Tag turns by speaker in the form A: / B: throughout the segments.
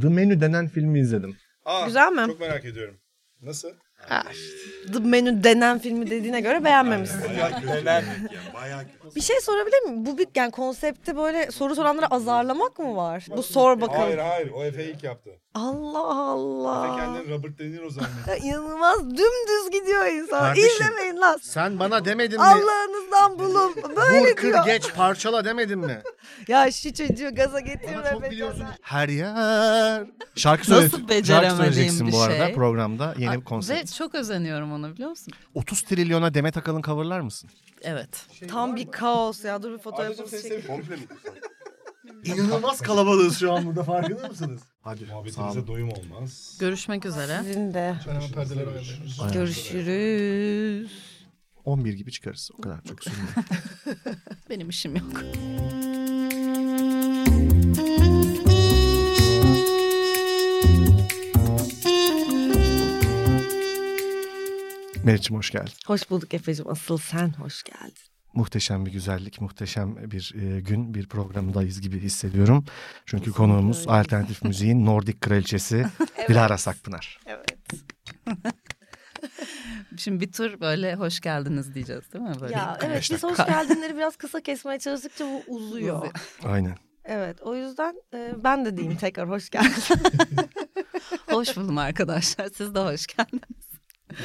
A: The Menu denen filmi izledim.
B: Aa,
C: Güzel mi?
B: Çok merak ediyorum. Nasıl?
C: The Menu denen filmi dediğine göre beğenmemişsin.
D: Bayağı kötü yemek ya. Bayağı kötü.
C: Bir şey sorabilir miyim? Bu bir yani konsepte böyle soru soranlara azarlamak mı var? Bu sor bakalım.
B: Hayır hayır o Efe ilk yaptı.
C: Allah
B: Efe
C: Allah.
B: kendini Robert De Niro zannetti.
C: Ya İnanılmaz dümdüz gidiyor insan.
E: Kardeşim.
C: İzlemeyin lan.
E: Sen bana demedin mi?
C: Allah'ınızdan bulun. Böyle
E: Vur kır
C: diyor.
E: geç parçala demedin mi?
C: Ya şu çocuğu gaza getirme.
E: Ama çok
C: be
E: biliyorsun.
C: canım.
E: Her yer. Şarkı,
F: Nasıl
E: söyle, şarkı
F: beceremediğim
E: söyleyeceksin
F: bir
E: bu arada
F: şey?
E: programda yeni bir
F: Ve
E: konsept.
F: çok özeniyorum ona biliyor musun?
E: 30 trilyona Demet Akalın coverlar mısın?
F: Evet.
C: Tam bir kaos ya. Dur bir
B: Ayrıca
C: fotoğrafımızı
B: seni
C: çekelim.
B: seviyorum.
D: Komple mi?
E: İnanılmaz kalabalığız şu an burada farkında mısınız? Hadi sağ
B: Muhabbetimize
E: olun.
B: doyum olmaz.
F: Görüşmek üzere.
C: Sizin de.
B: Ben hemen perdeleri ayarlarım.
C: Görüşürüz.
E: 11 gibi çıkarız. O kadar çok sürmüyor.
F: Benim işim yok.
E: Meriç'im hoş geldin.
C: Hoş bulduk Efe'cim. Asıl sen hoş geldin.
E: Muhteşem bir güzellik, muhteşem bir e, gün, bir programdayız gibi hissediyorum. Çünkü konuğumuz alternatif müziğin Nordik kraliçesi Dilara Sakpınar.
C: Evet.
F: Şimdi bir tur böyle hoş geldiniz diyeceğiz değil mi? Böyle
C: Ya
F: bir-
C: evet biz hoş geldinleri biraz kısa kesmeye çalıştıkça bu uzuyor.
F: Uzuyor.
E: Aynen.
C: Evet o yüzden e, ben de diyeyim tekrar hoş geldin.
F: Hoş buldum arkadaşlar. Siz de hoş geldiniz.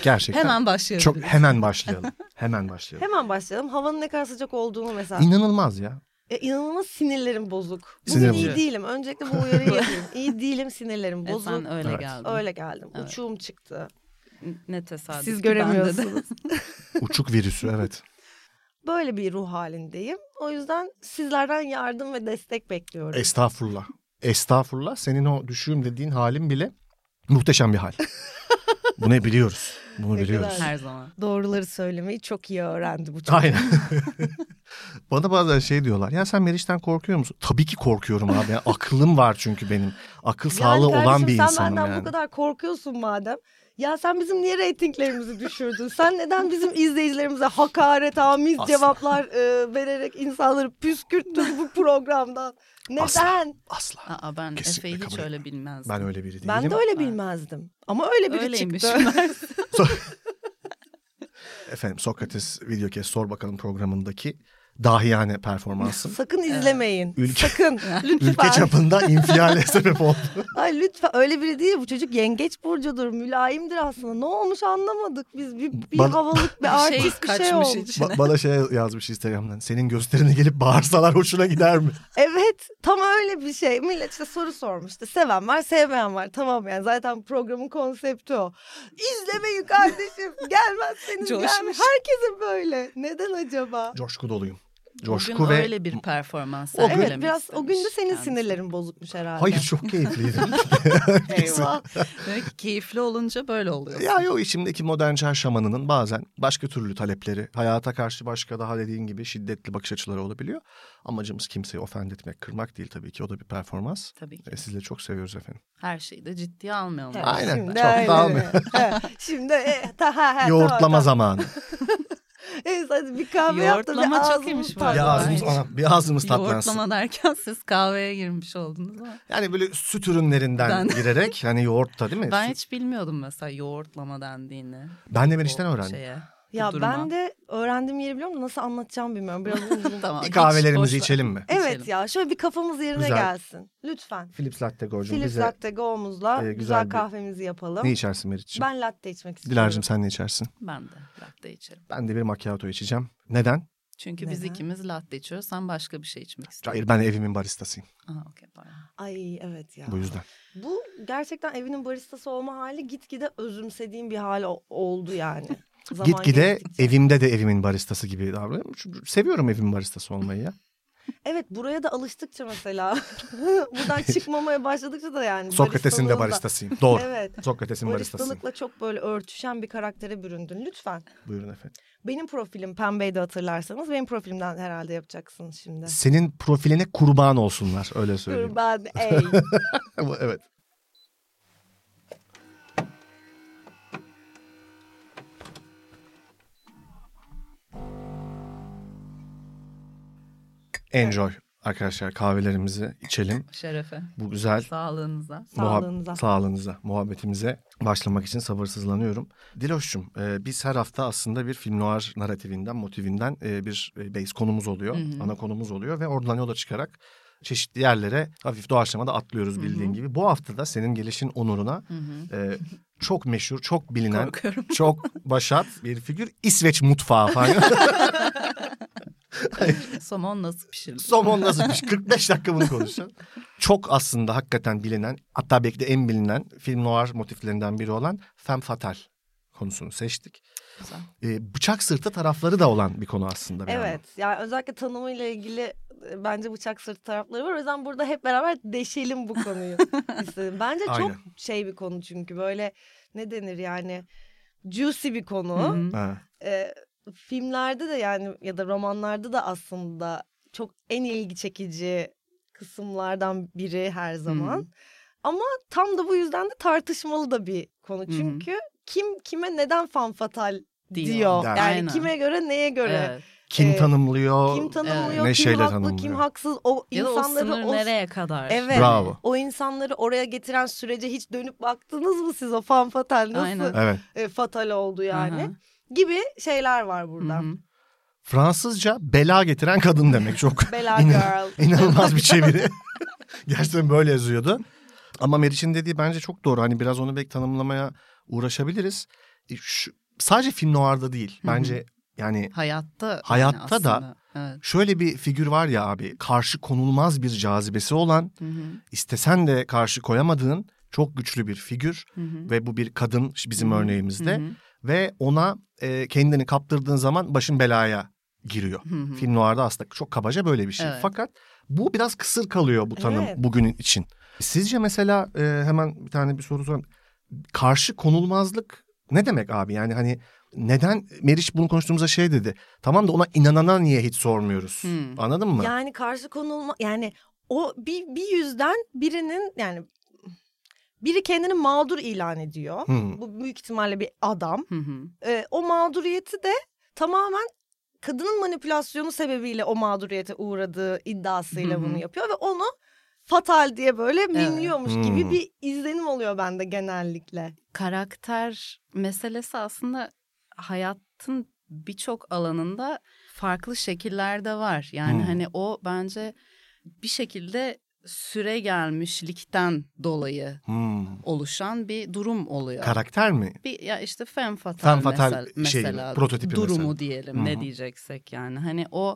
E: Gerçekten.
F: Hemen başlıyoruz.
E: Çok hemen başlayalım. Hemen başlayalım.
C: Hemen başlayalım. Havanın ne kadar sıcak olduğunu mesela.
E: İnanılmaz ya.
C: E, inanılmaz sinirlerim bozuk. Bugün
E: Sinir
C: iyi
E: bozucu.
C: değilim. Öncelikle bu uyarıyı yapayım. İyi değilim sinirlerim
F: E,
C: bozuk.
F: sen öyle
E: Evet.
F: geldin.
C: Öyle geldim.
F: Evet.
C: Uçuğum çıktı.
F: Ne tesadüf.
C: Siz
F: ki ben de de-
C: göremiyorsunuz.
E: Uçuk virüsü evet.
C: Böyle bir ruh halindeyim. O yüzden sizlerden yardım ve destek bekliyorum.
E: Estağfurullah. Estağfurullah. Senin o düşüğüm dediğin halin bile muhteşem bir hal. Bunu biliyoruz. Bunu
C: Ne
E: biliyoruz.
C: kadar.
F: Her zaman.
C: Doğruları söylemeyi çok iyi öğrendi bu çocuk.
E: Aynen. Bana bazen şey diyorlar. Ya sen Meriç'ten korkuyor musun? Tabii ki korkuyorum abi. Yani aklım var çünkü benim. Akıl sağlığı
C: yani
E: olan
C: kardeşim,
E: bir
C: sen
E: insanım
C: benden
E: yani.
C: bu kadar korkuyorsun madem. Ya sen bizim niye reytinglerimizi düşürdün? Sen neden bizim izleyicilerimize hakaret amiz
E: Asla.
C: cevaplar e, vererek insanları püskürttün bu programdan? Neden?
E: Asla. Asla.
F: Aa, ben
E: Kesinlikle
F: Efe'yi hiç
E: kabul
F: öyle bilmezdim.
E: Ben öyle biri değilim.
C: Ben de öyle bilmezdim. Ama öyle biri
F: Öyleymiş.
C: çıktı.
E: Efendim Sokrates video kes sor bakalım programındaki dahiyane performansım.
C: Sakın izlemeyin.
E: Ülke-
C: Sakın.
E: Ülke
C: lütfen.
E: çapında infiale sebep oldu.
C: Ay lütfen öyle biri değil. Bu çocuk yengeç burcudur. Mülayimdir aslında. Ne olmuş anlamadık biz. Bir, bir
E: Bana-
C: havalık bir
F: Bir şey
C: artist bir şey,
F: kaçmış
C: olmuş.
F: içine.
E: Ba- bana şey yazmış Instagram'dan. Senin gösterine gelip bağırsalar hoşuna gider mi?
C: Evet tam öyle bir şey. Millet işte soru sormuştu. Seven var sevmeyen var. Tamam yani zaten programın konsepti o. İzlemeyin kardeşim. Gelmezseniz
F: Coşmuş.
C: gelmeyin. Herkese böyle. Neden acaba?
E: Coşku doluyum.
F: Coşku
E: Coşku ve...
F: öyle bir performans
E: O gün-
C: Evet
F: sergilemek
C: biraz o gün de
F: istemiş
C: senin
F: kendisi.
C: sinirlerin bozukmuş herhalde.
E: Hayır çok keyifliydi.
C: Eyvah.
F: Demek ki keyifli olunca böyle oluyor.
E: ya yo içimdeki modern çağ şamanının bazen başka türlü talepleri, hayata karşı başka daha dediğin gibi şiddetli bakış açıları olabiliyor. Amacımız kimseyi ofend etmek, kırmak değil tabii ki. O da bir performans.
F: Tabii ki.
E: E, sizi de çok seviyoruz efendim.
F: Her şeyi de ciddiye almayalım.
C: Evet,
E: Aynen,
C: Şimdi
E: çok
C: öyle.
E: dağılmıyor.
C: Evet, Şimdi e, ta, ha, ha,
E: Yoğurtlama
C: tamam, tamam.
E: zamanı.
C: Evet, hadi bir kahve yaptım.
F: Yoğurtlama çok
C: ağzımız
F: iyiymiş bu
C: tatlı.
E: bir
F: arada.
E: ağzımız, ana, bir ağzımız tatlansın.
F: Yoğurtlama derken siz kahveye girmiş oldunuz ama.
E: Yani böyle süt ürünlerinden
F: Ben-
E: girerek hani yoğurtta değil mi?
F: Ben
E: Süt-
F: hiç bilmiyordum mesela yoğurtlama dendiğini.
E: ben de Meriç'ten
F: O
E: öğrendim.
F: şeye, bu
C: Ya
F: duruma.
C: ben de öğrendiğim yeri biliyorum da nasıl anlatacağım bilmiyorum. Biraz uzun.
F: Tamam,
E: Bir
F: hiç
E: kahvelerimizi
F: boş ver.
E: içelim mi?
C: evet
F: İçelim.
C: ya şöyle bir kafamız yerine
E: Güzel.
C: gelsin. Lütfen.
E: Philips Latte Go'cum
C: Philips
E: bize
C: Latte Go'muzla
E: e,
C: güzel,
E: güzel bir-
C: kahvemizi yapalım.
E: ne içersin Meriç'ciğim?
C: Ben latte içmek istiyorum.
E: Dilar'cığım sen ne içersin?
F: Ben de latte içerim.
E: Ben de bir macchiato içeceğim. Neden?
F: Çünkü biz
C: Neden?
F: ikimiz latte içiyoruz. Sen başka bir şey içmek istiyorsun.
E: Hayır ben evimin baristasıyım
F: Aha, okey, pardon.
C: Ay evet ya.
E: bu yüzden.
C: Bu gerçekten evinin baristası olma hali gitgide özümsediğim bir hal o- oldu yani. Zaman
E: Gitgide
C: geçtikçe.
E: evimde de evimin baristası gibi davranıyorum. Çünkü Seviyorum evimin baristası olmayı ya.
C: Evet buraya da alıştıkça mesela buradan çıkmamaya başladıkça da yani.
E: Sokrates'in de
C: baristalığı da-
E: baristasıyım. Doğru.
C: Evet.
E: Sokrates'in baristasıyım.
C: Baristalıkla çok böyle örtüşen bir karaktere büründün. Lütfen.
E: Buyurun efendim.
C: Benim profilim pembeydi hatırlarsanız. Benim profilimden herhalde yapacaksın şimdi.
E: Senin profiline kurban olsunlar öyle söyleyeyim.
C: Kurban ey.
E: Bu- evet. Enjoy. Arkadaşlar kahvelerimizi içelim.
F: Şerefe.
E: Bu güzel
F: Sağlığınıza.
E: muhab-
C: Sağlığınıza.
E: sağlığınıza, muhabbetimize başlamak için sabırsızlanıyorum. Diloş'cum e, biz her hafta aslında bir film noir narratifinden, motivinden e, bir e, base konumuz oluyor.
F: Hı hı.
E: Ana konumuz oluyor ve oradan yola çıkarak çeşitli yerlere hafif doğaçlamada atlıyoruz bildiğin gibi. Bu hafta da senin gelişin onuruna
F: Hı hı.
E: e, çok meşhur, çok bilinen,
F: Korkuyorum.
E: çok başat bir figür İsveç mutfağı falan.
F: Somon nasıl pişirilir?
E: Somon nasıl piş- 45 dakika bunu konuşacağız. Çok aslında hakikaten bilinen hatta belki de en bilinen film noir motiflerinden biri olan Femme Fatale konusunu seçtik.
F: Güzel.
E: Ee, bıçak sırtı tarafları da olan bir konu aslında. bir
C: Evet yani özellikle tanımıyla ilgili e, bence bıçak sırtı tarafları var. O yüzden burada hep beraber deşelim bu konuyu istedim. Bence çok
E: Aynen.
C: şey bir konu çünkü böyle ne denir yani juicy bir
F: Hı
C: konu.
F: hı.
E: yandan. Ha.
C: E, filmlerde de yani ya da romanlarda da aslında çok en ilgi çekici kısımlardan biri her zaman.
F: Hı.
C: Ama tam da bu yüzden de tartışmalı da bir konu.
F: hı.
C: Çünkü kim kime neden fanfatal
F: Diyor.
C: diyor.
E: Der.
C: Yani
F: Aynen.
C: kime göre neye göre.
F: Evet.
E: Kim
C: Ee,
E: tanımlıyor?
C: Kim tanımlıyor,
F: Evet.
C: kim
E: Neşeyle
C: haklı, kim
E: tanımlıyor.
C: haksız. O
F: Ya da o
C: insanları
F: sınır
C: o,
F: nereye kadar?
C: Evet.
E: Bravo.
C: o insanları oraya getiren sürece hiç dönüp baktınız mı siz o fan fatal nasıl
F: Aynen.
E: Evet.
C: e, fatal oldu yani
F: Aha.
C: gibi şeyler var
F: Hı
C: burada.
F: hı.
E: Fransızca bela getiren kadın demek çok
C: Bella
E: İnan-
C: girl.
E: İnanılmaz bir çeviri. Gerçekten böyle yazıyordu. Ama Meriç'in dediği bence çok doğru. Hani biraz onu belki tanımlamaya uğraşabiliriz. E, şu- sadece film noir'da değil.
F: hı.
E: Bence yani
F: Hayatta. yani
E: Hayatta da-
F: aslında. Evet.
E: şöyle bir figür var ya abi. Karşı konulmaz bir cazibesi olan,
F: Hı hı.
E: istesen de karşı koyamadığın çok güçlü bir figür.
F: Hı hı.
E: Ve bu bir kadın işte bizim
F: Hı hı.
E: örneğimizde.
F: Hı hı.
E: Ve ona e, kendini kaptırdığın zaman başın belaya giriyor.
F: Hı hı.
E: Film noir'da aslında çok kabaca böyle bir şey.
F: Evet.
E: Fakat bu biraz kısır kalıyor bu tanım
C: Evet.
E: bugün için. Sizce mesela e, hemen bir tane bir soru sorayım. Karşı konulmazlık ne demek abi? Yani hani neden Meriç bunu konuştuğumuzda şey dedi. Tamam da ona inanana niye hiç sormuyoruz?
F: Hmm.
E: Anladın mı?
C: Yani karşı konulma yani o bir, bir yüzden birinin yani biri kendini mağdur ilan ediyor.
E: Hmm.
C: Bu büyük ihtimalle bir adam.
F: Hı hı.
C: E, o mağduriyeti de tamamen kadının manipülasyonu sebebiyle o mağduriyete uğradığı iddiasıyla
F: Hı hı.
C: bunu yapıyor ve onu fatal diye böyle minliyormuş gibi
E: Hmm.
C: bir izlenim oluyor bende genellikle.
F: karakter meselesi aslında hayatın birçok alanında farklı şekillerde var. Yani
E: Hmm.
F: hani o bence bir şekilde süre gelmişlikten dolayı
E: Hmm.
F: oluşan bir durum oluyor.
E: Karakter mi?
F: bir ya işte femme fatale,
E: Femme fatale
F: mesel-
E: şey,
F: mesela
E: prototipi
F: durumu
E: mesela.
F: diyelim
E: Hı
F: ne
E: hı.
F: diyeceksek yani hani o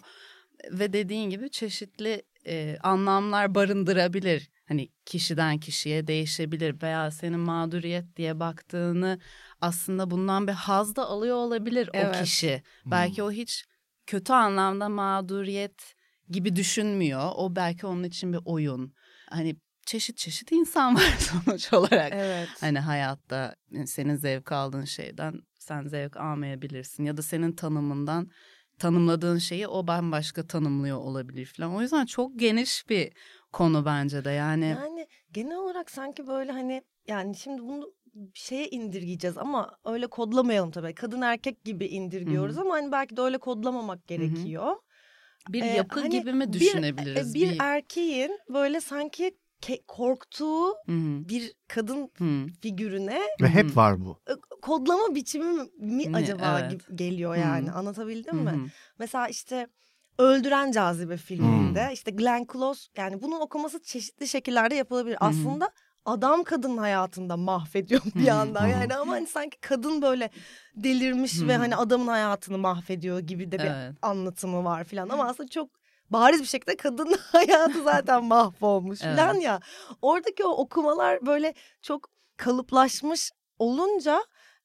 F: ve dediğin gibi çeşitli e, anlamlar barındırabilir. Hani kişiden kişiye değişebilir veya senin mağduriyet diye baktığını aslında bundan bir haz da alıyor olabilir
C: Evet.
F: o kişi. Belki o hiç kötü anlamda mağduriyet gibi düşünmüyor. O belki onun için bir oyun. Hani çeşit çeşit insan var sonuç olarak.
C: Evet.
F: Hani hayatta senin zevk aldığın şeyden sen zevk almayabilirsin ya da senin tanımından tanımladığın şeyi o bambaşka tanımlıyor olabilir falan. O yüzden çok geniş bir konu bence de yani.
C: Yani genel olarak sanki böyle hani yani şimdi bunu bir şeye indirgeyeceğiz ama öyle kodlamayalım tabii. Kadın erkek gibi indirgiyoruz ama hani belki de öyle kodlamamak gerekiyor.
F: Bir
C: Ee,
F: yapı
C: hani
F: gibi mi
C: bir- E,
F: düşünebiliriz?
C: bir erkeğin böyle sanki ke- korktuğu
F: Hı hı,
C: bir kadın
F: hı.
C: figürüne
E: Ve hep var bu.
C: e, kodlama biçimi mi
F: Ne,
C: acaba
F: evet.
C: gibi geliyor
F: Hı.
C: yani anlatabildim
F: Hı
C: mi?
F: hı.
C: Mesela işte Öldüren Cazibe filminde işte Glenn Close yani bunun okuması çeşitli şekillerde yapılabilir.
F: hı.
C: Aslında adam kadın hayatında mahvediyor bir
F: Hı hı.
C: yandan
E: Hı hı.
C: yani ama hani sanki kadın böyle delirmiş
F: Hı
C: ve
F: hı.
C: hani adamın hayatını mahvediyor gibi de bir
F: Evet.
C: anlatımı var filan ama aslında çok bariz bir şekilde kadının hayatı zaten mahvolmuş
F: Evet.
C: filan ya. Oradaki o okumalar böyle çok kalıplaşmış olunca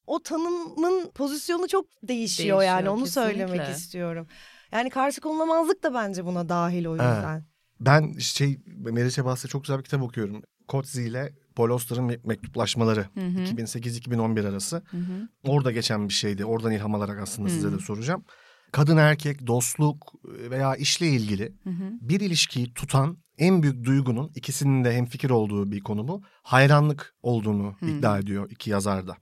C: o tanımın pozisyonu çok değişiyor,
F: Değişiyor,
C: yani onu söylemek
F: kesinlikle.
C: istiyorum. Yani karşı konulamazlık da bence buna dahil o yüzden.
E: Ben şey Meriç'e bahsede çok güzel bir kitap okuyorum. Kotzi ile Paul Auster'ın me- mektuplaşmaları.
F: Hı hı,
E: 2008-2011 arası.
F: hı hı.
E: Orada geçen bir şeydi. Oradan ilham alarak aslında size
F: Hmm.
E: de soracağım. Kadın erkek, dostluk veya işle ilgili
F: Hı hı.
E: bir ilişkiyi tutan en büyük duygunun ikisinin de hemfikir olduğu bir konu bu. Hayranlık olduğunu
F: Hı.
E: iddia ediyor iki yazar da.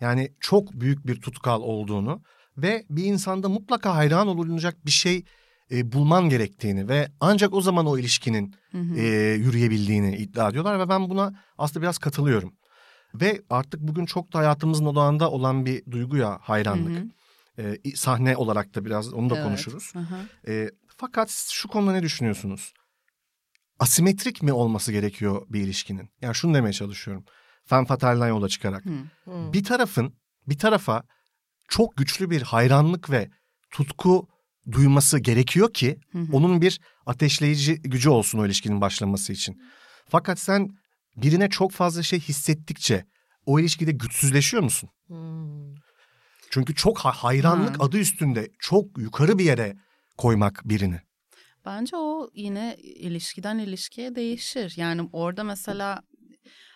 E: Yani çok büyük bir tutkal olduğunu ve bir insanda mutlaka hayran olunacak bir şey e, bulman gerektiğini ve ancak o zaman o ilişkinin
F: Hı hı.
E: e, yürüyebildiğini iddia ediyorlar ve ben buna aslında biraz katılıyorum. Ve artık bugün çok da hayatımızın odağında olan bir duyguya hayranlık.
F: Hı hı.
E: E, i- sahne olarak da biraz onu da
F: Evet.
E: konuşuruz.
F: Hı hı.
E: E, fakat siz şu konuda ne düşünüyorsunuz? Asimetrik mi olması gerekiyor bir ilişkinin? Yani şunu demeye çalışıyorum. Femme fatale'dan yola çıkarak.
F: Hı.
C: Hı.
E: Bir tarafın bir tarafa çok güçlü bir hayranlık ve tutku duyması gerekiyor ki
F: Hı hı.
E: onun bir ateşleyici gücü olsun o ilişkinin başlaması için. Fakat sen birine çok fazla şey hissettikçe o ilişkide güçsüzleşiyor musun?
C: Hmm.
E: Çünkü çok ha- hayranlık
F: Ha.
E: adı üstünde çok yukarı bir yere koymak birini.
F: Bence o yine ilişkiden ilişkiye değişir. Yani orada mesela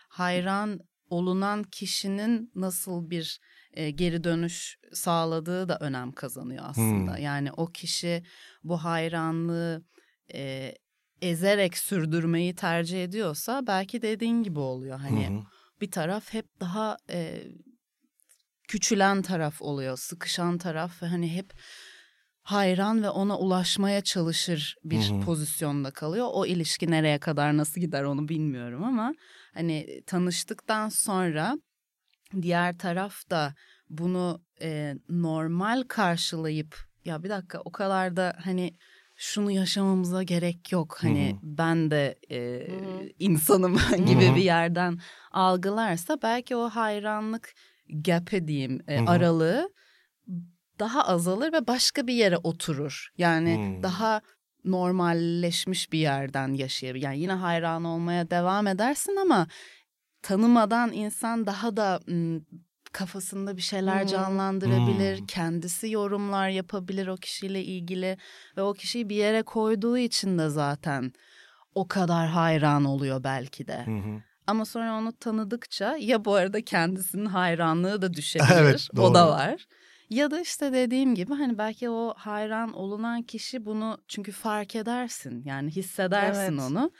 F: hayran olunan kişinin nasıl bir e, geri dönüş sağladığı da önem kazanıyor aslında.
E: Hmm.
F: Yani o kişi bu hayranlığı e, ezerek sürdürmeyi tercih ediyorsa belki dediğin gibi oluyor. Hani
E: Hı hı.
F: bir taraf hep daha e, küçülen taraf oluyor, sıkışan taraf ve hani hep hayran ve ona ulaşmaya çalışır bir
E: Hı hı.
F: pozisyonda kalıyor. O ilişki nereye kadar nasıl gider onu bilmiyorum ama hani tanıştıktan sonra diğer taraf da bunu e, normal karşılayıp ya bir dakika o kadar da hani şunu yaşamamıza gerek yok hani
E: Hı hı.
F: ben de e,
C: Hı hı.
F: insanım gibi
E: Hı hı.
F: bir yerden algılarsa belki o hayranlık gap'i diyeyim e,
E: Hı hı.
F: aralığı daha azalır ve başka bir yere oturur. Yani
E: Hmm.
F: daha normalleşmiş bir yerden yaşayabilir. Yani yine hayran olmaya devam edersin ama tanımadan insan daha da m, kafasında bir şeyler
C: Hmm.
F: canlandırabilir.
E: Hmm.
F: Kendisi yorumlar yapabilir o kişiyle ilgili ve o kişiyi bir yere koyduğu için de zaten o kadar hayran oluyor belki de.
E: Hı hı.
F: Ama sonra onu tanıdıkça ya bu arada kendisinin hayranlığı da düşebilir.
E: Evet, doğru.
F: O da var. Ya da işte dediğim gibi hani belki o hayran olunan kişi bunu çünkü fark edersin. Yani hissedersin
C: Evet.
F: onu.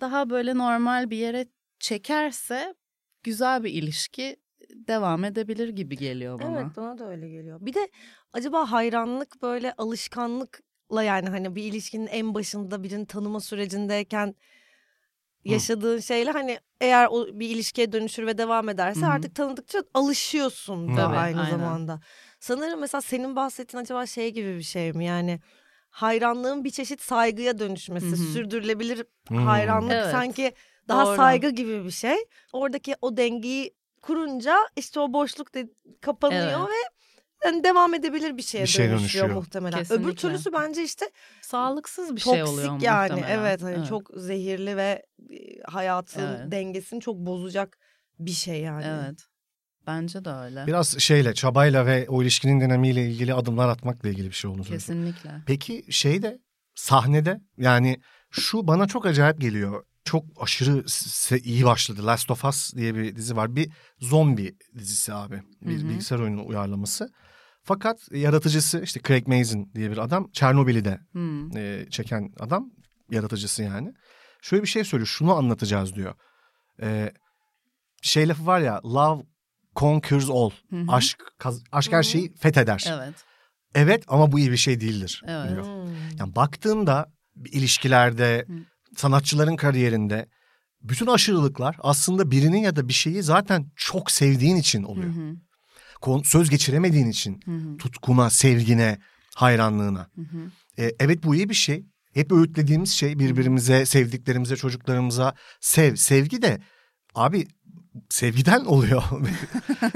F: Daha böyle normal bir yere çekerse güzel bir ilişki devam edebilir gibi geliyor bana.
C: Evet bana da öyle geliyor. Bir de acaba hayranlık böyle alışkanlıkla yani hani bir ilişkinin en başında birini tanıma sürecindeyken yaşadığın şeyle hani eğer o bir ilişkiye dönüşür ve devam ederse
F: Hı hı.
C: artık tanıdıkça alışıyorsun da
E: Tabii,
C: aynı
F: aynen.
C: zamanda. Sanırım mesela senin bahsettiğin acaba şey gibi bir şey mi yani hayranlığın bir çeşit saygıya dönüşmesi
F: Hı hı.
C: sürdürülebilir
E: Hmm.
C: hayranlık
F: Evet.
C: sanki daha
F: Doğru.
C: saygı gibi bir şey. Oradaki o dengeyi kurunca işte o boşluk da kapanıyor
F: Evet.
C: ve yani devam edebilir bir şeye
E: Bir şeye
C: dönüşüyor,
E: dönüşüyor.
C: muhtemelen. Öbür
F: Kesinlikle.
C: türlüsü bence işte
F: Sağlıksız bir şey
C: toksik
F: oluyor
C: yani.
F: muhtemelen.
C: Evet, hani çok zehirli ve e, hayatın
F: Evet.
C: dengesini çok bozacak bir şey yani.
F: Evet. hani Bence de öyle.
E: Biraz şeyle çabayla ve o ilişkinin dinamiğiyle ilgili adımlar atmakla ilgili bir şey olduğunu söylüyorsun.
F: Kesinlikle.
E: Peki şeyde sahnede yani şu bana çok acayip geliyor. Çok aşırı se- iyi başladı. Last of Us diye bir dizi var. Bir zombi dizisi abi. Bir
F: Hı hı.
E: bilgisayar oyunu uyarlaması. Fakat yaratıcısı işte Craig Mazin diye bir adam. Çernobil'i de
F: Hmm.
E: e, çeken adam yaratıcısı yani. Şöyle bir şey söylüyor. Şunu anlatacağız diyor. E, şey lafı var ya love conquers all.
F: Hı hı.
E: Aşk kaz- aşk her şeyi fetheder. Evet.
F: Evet.
E: ama bu iyi bir şey değildir
F: Evet.
E: diyor.
C: Hmm.
E: Yani baktığında ilişkilerde,
F: Hı.
E: sanatçıların kariyerinde bütün aşırılıklar aslında birini ya da bir şeyi zaten çok sevdiğin için
F: Hı
E: oluyor.
F: hı.
E: Kon- Söz geçiremediğin için
F: Hı hı.
E: tutkuna, sevgine, hayranlığına.
F: Hı hı.
E: E, evet bu iyi bir şey. Hep öğütlediğimiz şey birbirimize, sevdiklerimize, çocuklarımıza sev. Sevgi de abi sevgiden oluyor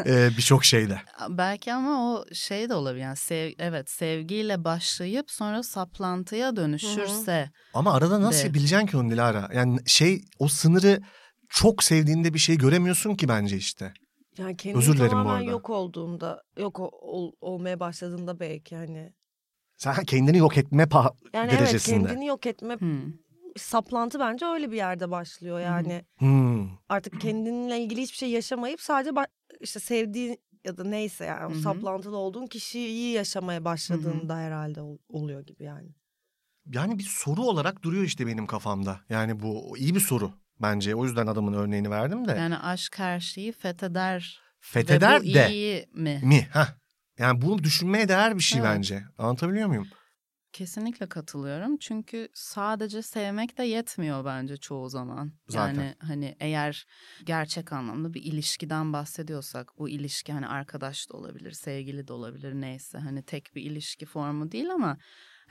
E: e, birçok şeyde.
F: Belki ama o şey de olabilir. Yani sev, evet sevgiyle başlayıp sonra saplantıya dönüşürse.
E: Ama arada nasıl
F: De.
E: bileceksin ki onu Dilara? Yani şey o sınırı çok sevdiğinde bir şey göremiyorsun ki bence işte.
C: Yani kendini
E: Özür dilerim bu
C: tamamen
E: arada.
C: yok olduğunda, yok o- ol- olmaya başladığında belki hani.
E: Sen kendini yok etme pa-
C: Yani evet
E: derecesinde.
C: kendini yok etme
F: Hmm.
C: saplantı bence öyle bir yerde başlıyor yani.
E: Hmm.
C: artık kendinle ilgili hiçbir şey yaşamayıp sadece ba- işte sevdiğin ya da neyse yani o
F: Hı hı.
C: saplantılı olduğun kişiyi yaşamaya başladığında herhalde ol- oluyor gibi yani.
E: Yani bir soru olarak duruyor işte benim kafamda. Yani bu iyi bir soru bence. O yüzden adamın örneğini verdim de.
F: Yani aşk her şeyi fetheder.
E: Fetheder
F: Ve bu
E: de
F: iyi mi?
E: mi? Hah. Yani bunu düşünmeye değer bir şey
F: Evet.
E: bence. Anlatabiliyor muyum?
F: Kesinlikle katılıyorum. Çünkü sadece sevmek de yetmiyor bence çoğu zaman.
E: Zaten.
F: Yani hani eğer gerçek anlamda bir ilişkiden bahsediyorsak bu ilişki hani arkadaş da olabilir, sevgili de olabilir neyse hani tek bir ilişki formu değil ama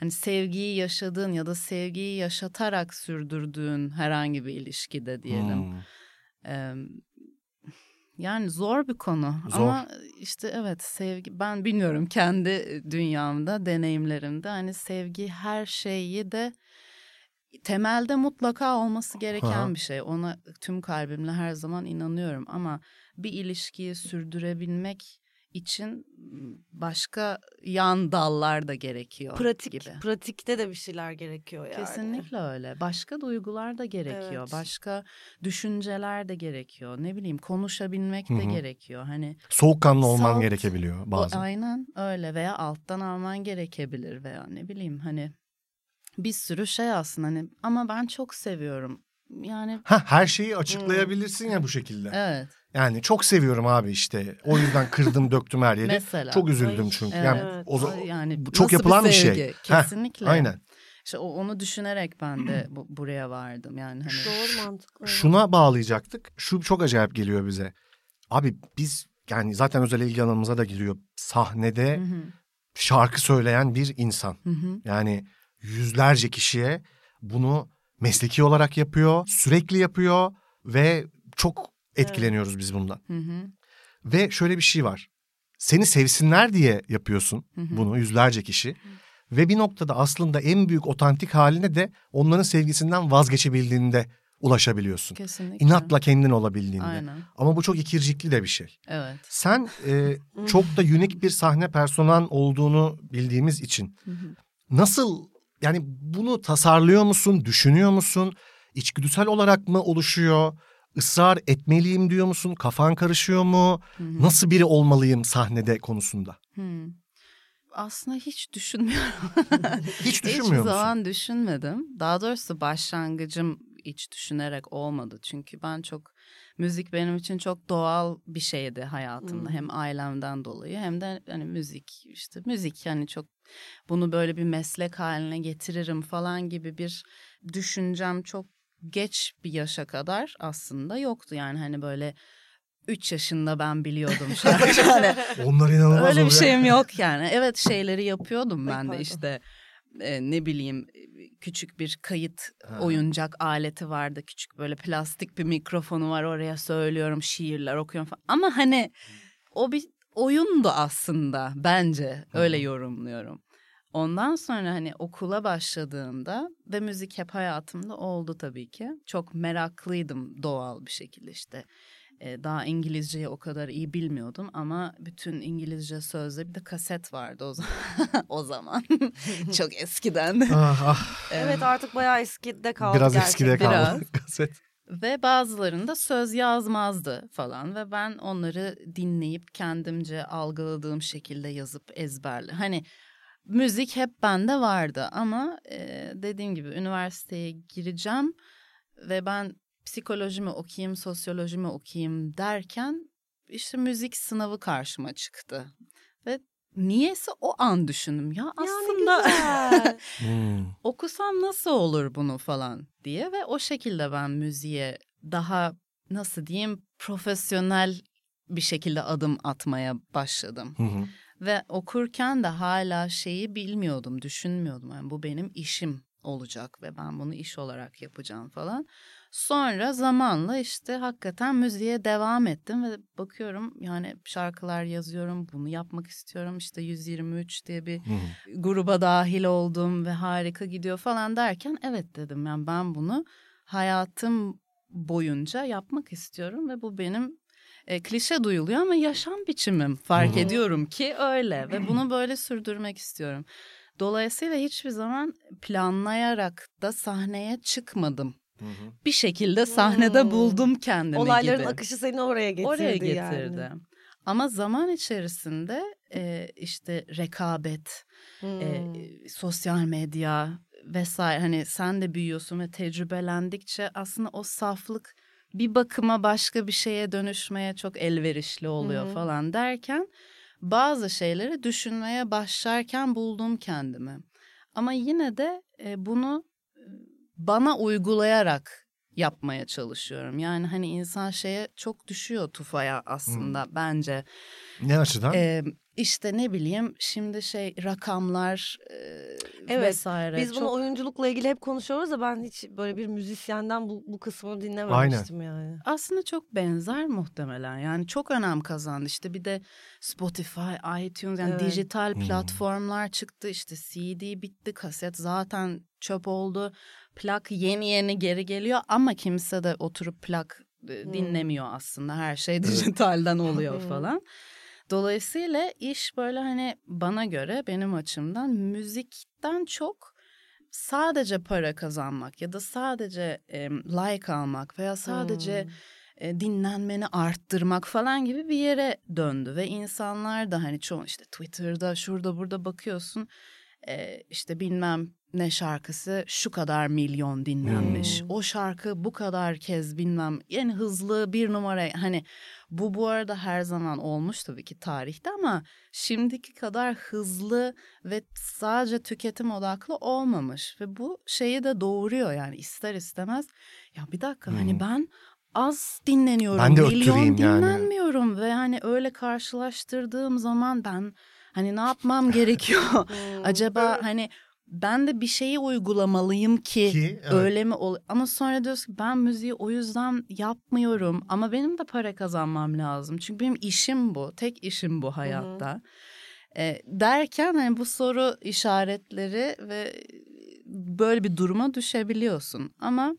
F: hani sevgiyi yaşadığın ya da sevgiyi yaşatarak sürdürdüğün herhangi bir ilişkide diyelim.
E: Hmm.
F: Eee, yani zor bir konu
E: Zor.
F: ama işte evet sevgi ben bilmiyorum kendi dünyamda deneyimlerimde hani sevgi her şeyi de temelde mutlaka olması gereken
E: Aha.
F: bir şey. Ona tüm kalbimle her zaman inanıyorum ama bir ilişkiyi sürdürebilmek için başka yan dallar da gerekiyor
C: Pratik,
F: gibi.
C: pratikte de bir şeyler gerekiyor yani.
F: Kesinlikle öyle. Başka duygular da gerekiyor.
C: Evet.
F: Başka düşünceler de gerekiyor. Ne bileyim konuşabilmek de
E: Hı hı.
F: gerekiyor. Hani
E: Soğukkanlı olman
F: Salt.
E: gerekebiliyor bazen.
F: o aynen öyle veya alttan alman gerekebilir veya ne bileyim hani bir sürü şey aslında hani ama ben çok seviyorum. Yani
E: Ha her şeyi açıklayabilirsin ya bu şekilde.
F: Hmm. evet
E: Yani çok seviyorum abi işte. O yüzden kırdım döktüm her yeri.
F: mesela.
E: Çok üzüldüm çünkü. Yani
F: Evet.
E: o zaman-
F: yani
E: bu çok
F: nasıl
E: yapılan bir şey.
F: sevgi?
E: Heh,
F: Kesinlikle.
E: aynen.
F: İşte o- onu düşünerek ben de bu- buraya vardım yani hani.
C: Doğru mantıklı.
E: Şuna bağlayacaktık. Şu çok acayip geliyor bize. Abi biz yani zaten özel ilgi alanımıza da giriyor. Sahnede
F: Hı hı,
E: şarkı söyleyen bir insan.
F: hı hı.
E: Yani yüzlerce kişiye bunu mesleki olarak yapıyor, sürekli yapıyor ve çok etkileniyoruz biz bundan.
F: Hı hı.
E: Ve şöyle bir şey var. Seni sevsinler diye yapıyorsun
F: Hı hı.
E: bunu yüzlerce kişi. Ve bir noktada aslında en büyük otantik haline de onların sevgisinden vazgeçebildiğinde ulaşabiliyorsun.
F: Kesinlikle.
E: İnatla kendin olabildiğinde.
F: Aynen.
E: Ama bu çok ikircikli de bir şey.
F: Evet.
E: Sen e, çok da unik bir sahne personan olduğunu bildiğimiz için
F: Hı hı.
E: nasıl yani bunu tasarlıyor musun, düşünüyor musun? İçgüdüsel olarak mı oluşuyor? Israr etmeliyim diyor musun? Kafan karışıyor mu?
F: Hı hı.
E: Nasıl biri olmalıyım sahnede konusunda?
F: Hmm. Aslında hiç düşünmüyorum.
E: Hiç düşünmüyor
F: Hiçbir
E: musun?
F: zaman düşünmedim. Daha doğrusu başlangıcım hiç düşünerek olmadı. Çünkü ben çok müzik benim için çok doğal bir şeydi hayatımda.
C: Hmm.
F: Hem ailemden dolayı hem de hani müzik işte müzik yani çok bunu böyle bir meslek haline getiririm falan gibi bir düşüncem çok geç bir yaşa kadar aslında yoktu. Yani hani böyle 3 yaşında ben biliyordum şarkı. Hani
E: Onlar inanılmaz
F: Öyle bir
E: oluyor.
F: şeyim yok yani. Evet şeyleri yapıyordum
C: Ay,
F: ben de
C: pardon.
F: işte e, ne bileyim e, küçük bir kayıt
E: Ha.
F: oyuncak aleti vardı. Küçük böyle plastik bir mikrofonu var oraya söylüyorum şiirler okuyorum falan. Ama hani o bir oyundu aslında bence öyle yorumluyorum. Ondan sonra hani okula başladığımda ve müzik hep hayatımda oldu tabii ki. Çok meraklıydım doğal bir şekilde işte. Ee, daha İngilizceyi o kadar iyi bilmiyordum ama bütün İngilizce sözde bir de kaset vardı o zaman. o zaman. Çok eskiden.
E: Ah, ah.
C: Evet artık bayağı eskide kaldı
E: Biraz
C: gerçekten.
E: eskide kaldı.
F: Biraz.
E: Kaset.
F: Ve bazılarında söz yazmazdı falan ve ben onları dinleyip kendimce algıladığım şekilde yazıp ezberle. Hani müzik hep bende vardı ama e, dediğim gibi üniversiteye gireceğim ve ben psikolojimi okuyayım, sosyolojimi okuyayım derken işte müzik sınavı karşıma çıktı. Ve niyeyse o an düşündüm ya aslında
C: güzel.
E: Hmm.
F: okusam nasıl olur bunu falan diye ve o şekilde ben müziğe daha nasıl diyeyim profesyonel bir şekilde adım atmaya başladım.
E: Hı hı.
F: Ve okurken de hala şeyi bilmiyordum, düşünmüyordum. Yani bu benim işim olacak ve ben bunu iş olarak yapacağım falan. Sonra zamanla işte hakikaten müziğe devam ettim ve bakıyorum yani şarkılar yazıyorum, bunu yapmak istiyorum. İşte 123 diye bir
E: Hı hı.
F: gruba dahil oldum ve harika gidiyor falan derken evet dedim yani ben bunu hayatım boyunca yapmak istiyorum ve bu benim e, klişe duyuluyor ama yaşam biçimim fark
E: Hı hı.
F: ediyorum ki öyle ve bunu böyle sürdürmek istiyorum. Dolayısıyla hiçbir zaman planlayarak da sahneye çıkmadım.
E: Hı hı.
F: Bir şekilde sahnede
C: Hmm.
F: buldum kendimi
C: Olayların
F: gibi.
C: akışı seni oraya getirdi
F: Oraya
C: yani.
F: getirdi. Ama zaman içerisinde e, işte rekabet,
C: Hmm.
F: e, sosyal medya vesaire hani sen de büyüyorsun ve tecrübelendikçe aslında o saflık bir bakıma başka bir şeye dönüşmeye çok elverişli oluyor
C: Hı hı.
F: falan derken bazı şeyleri düşünmeye başlarken buldum kendimi. Ama yine de e, bunu e, bana uygulayarak yapmaya çalışıyorum. Yani hani insan şeye çok düşüyor tufaya aslında bence.
E: Ne açıdan?
F: Ee, işte ne bileyim şimdi şey rakamlar e,
C: Evet,
F: vesaire.
C: Biz bunu
F: çok-
C: oyunculukla ilgili hep konuşuyoruz da ben hiç böyle bir müzisyenden bu, bu kısmını dinlememiştim yani.
F: aslında çok benzer muhtemelen. Yani çok önem kazandı. İşte bir de Spotify, iTunes yani
C: Evet.
F: dijital
E: Hmm.
F: platformlar çıktı. İşte CD bitti, kaset zaten çöp oldu. Plak yeni yeni geri geliyor ama kimse de oturup plak e,
C: Hmm.
F: dinlemiyor aslında. Her şey dijitalden oluyor
C: Hmm.
F: falan. Dolayısıyla iş böyle hani bana göre benim açımdan müzikten çok sadece para kazanmak ya da sadece e, like almak veya sadece
C: Hmm.
F: e, dinlenmeni arttırmak falan gibi bir yere döndü ve insanlar da hani çoğu işte Twitter'da şurada burada bakıyorsun e, işte bilmem ne şarkısı şu kadar milyon dinlenmiş.
C: Hmm.
F: O şarkı bu kadar kez bilmem en hızlı bir numara hani bu bu arada her zaman olmuş tabii ki tarihte ama şimdiki kadar hızlı ve sadece tüketim odaklı olmamış ve bu şeyi de doğuruyor yani ister istemez ya bir dakika
E: Hmm.
F: hani ben az dinleniyorum
E: Ben de
F: milyon
E: öttüreyim yani.
F: dinlenmiyorum ve hani öyle karşılaştırdığım zaman ben hani ne yapmam gerekiyor
C: Hmm.
F: acaba hani ben de bir şeyi uygulamalıyım ki,
E: Ki, evet.
F: öyle mi ol ama sonra diyorsun ki ben müziği o yüzden yapmıyorum ama benim de para kazanmam lazım çünkü benim işim bu tek işim bu hayatta E, derken hani bu soru işaretleri ve e, böyle bir duruma düşebiliyorsun ama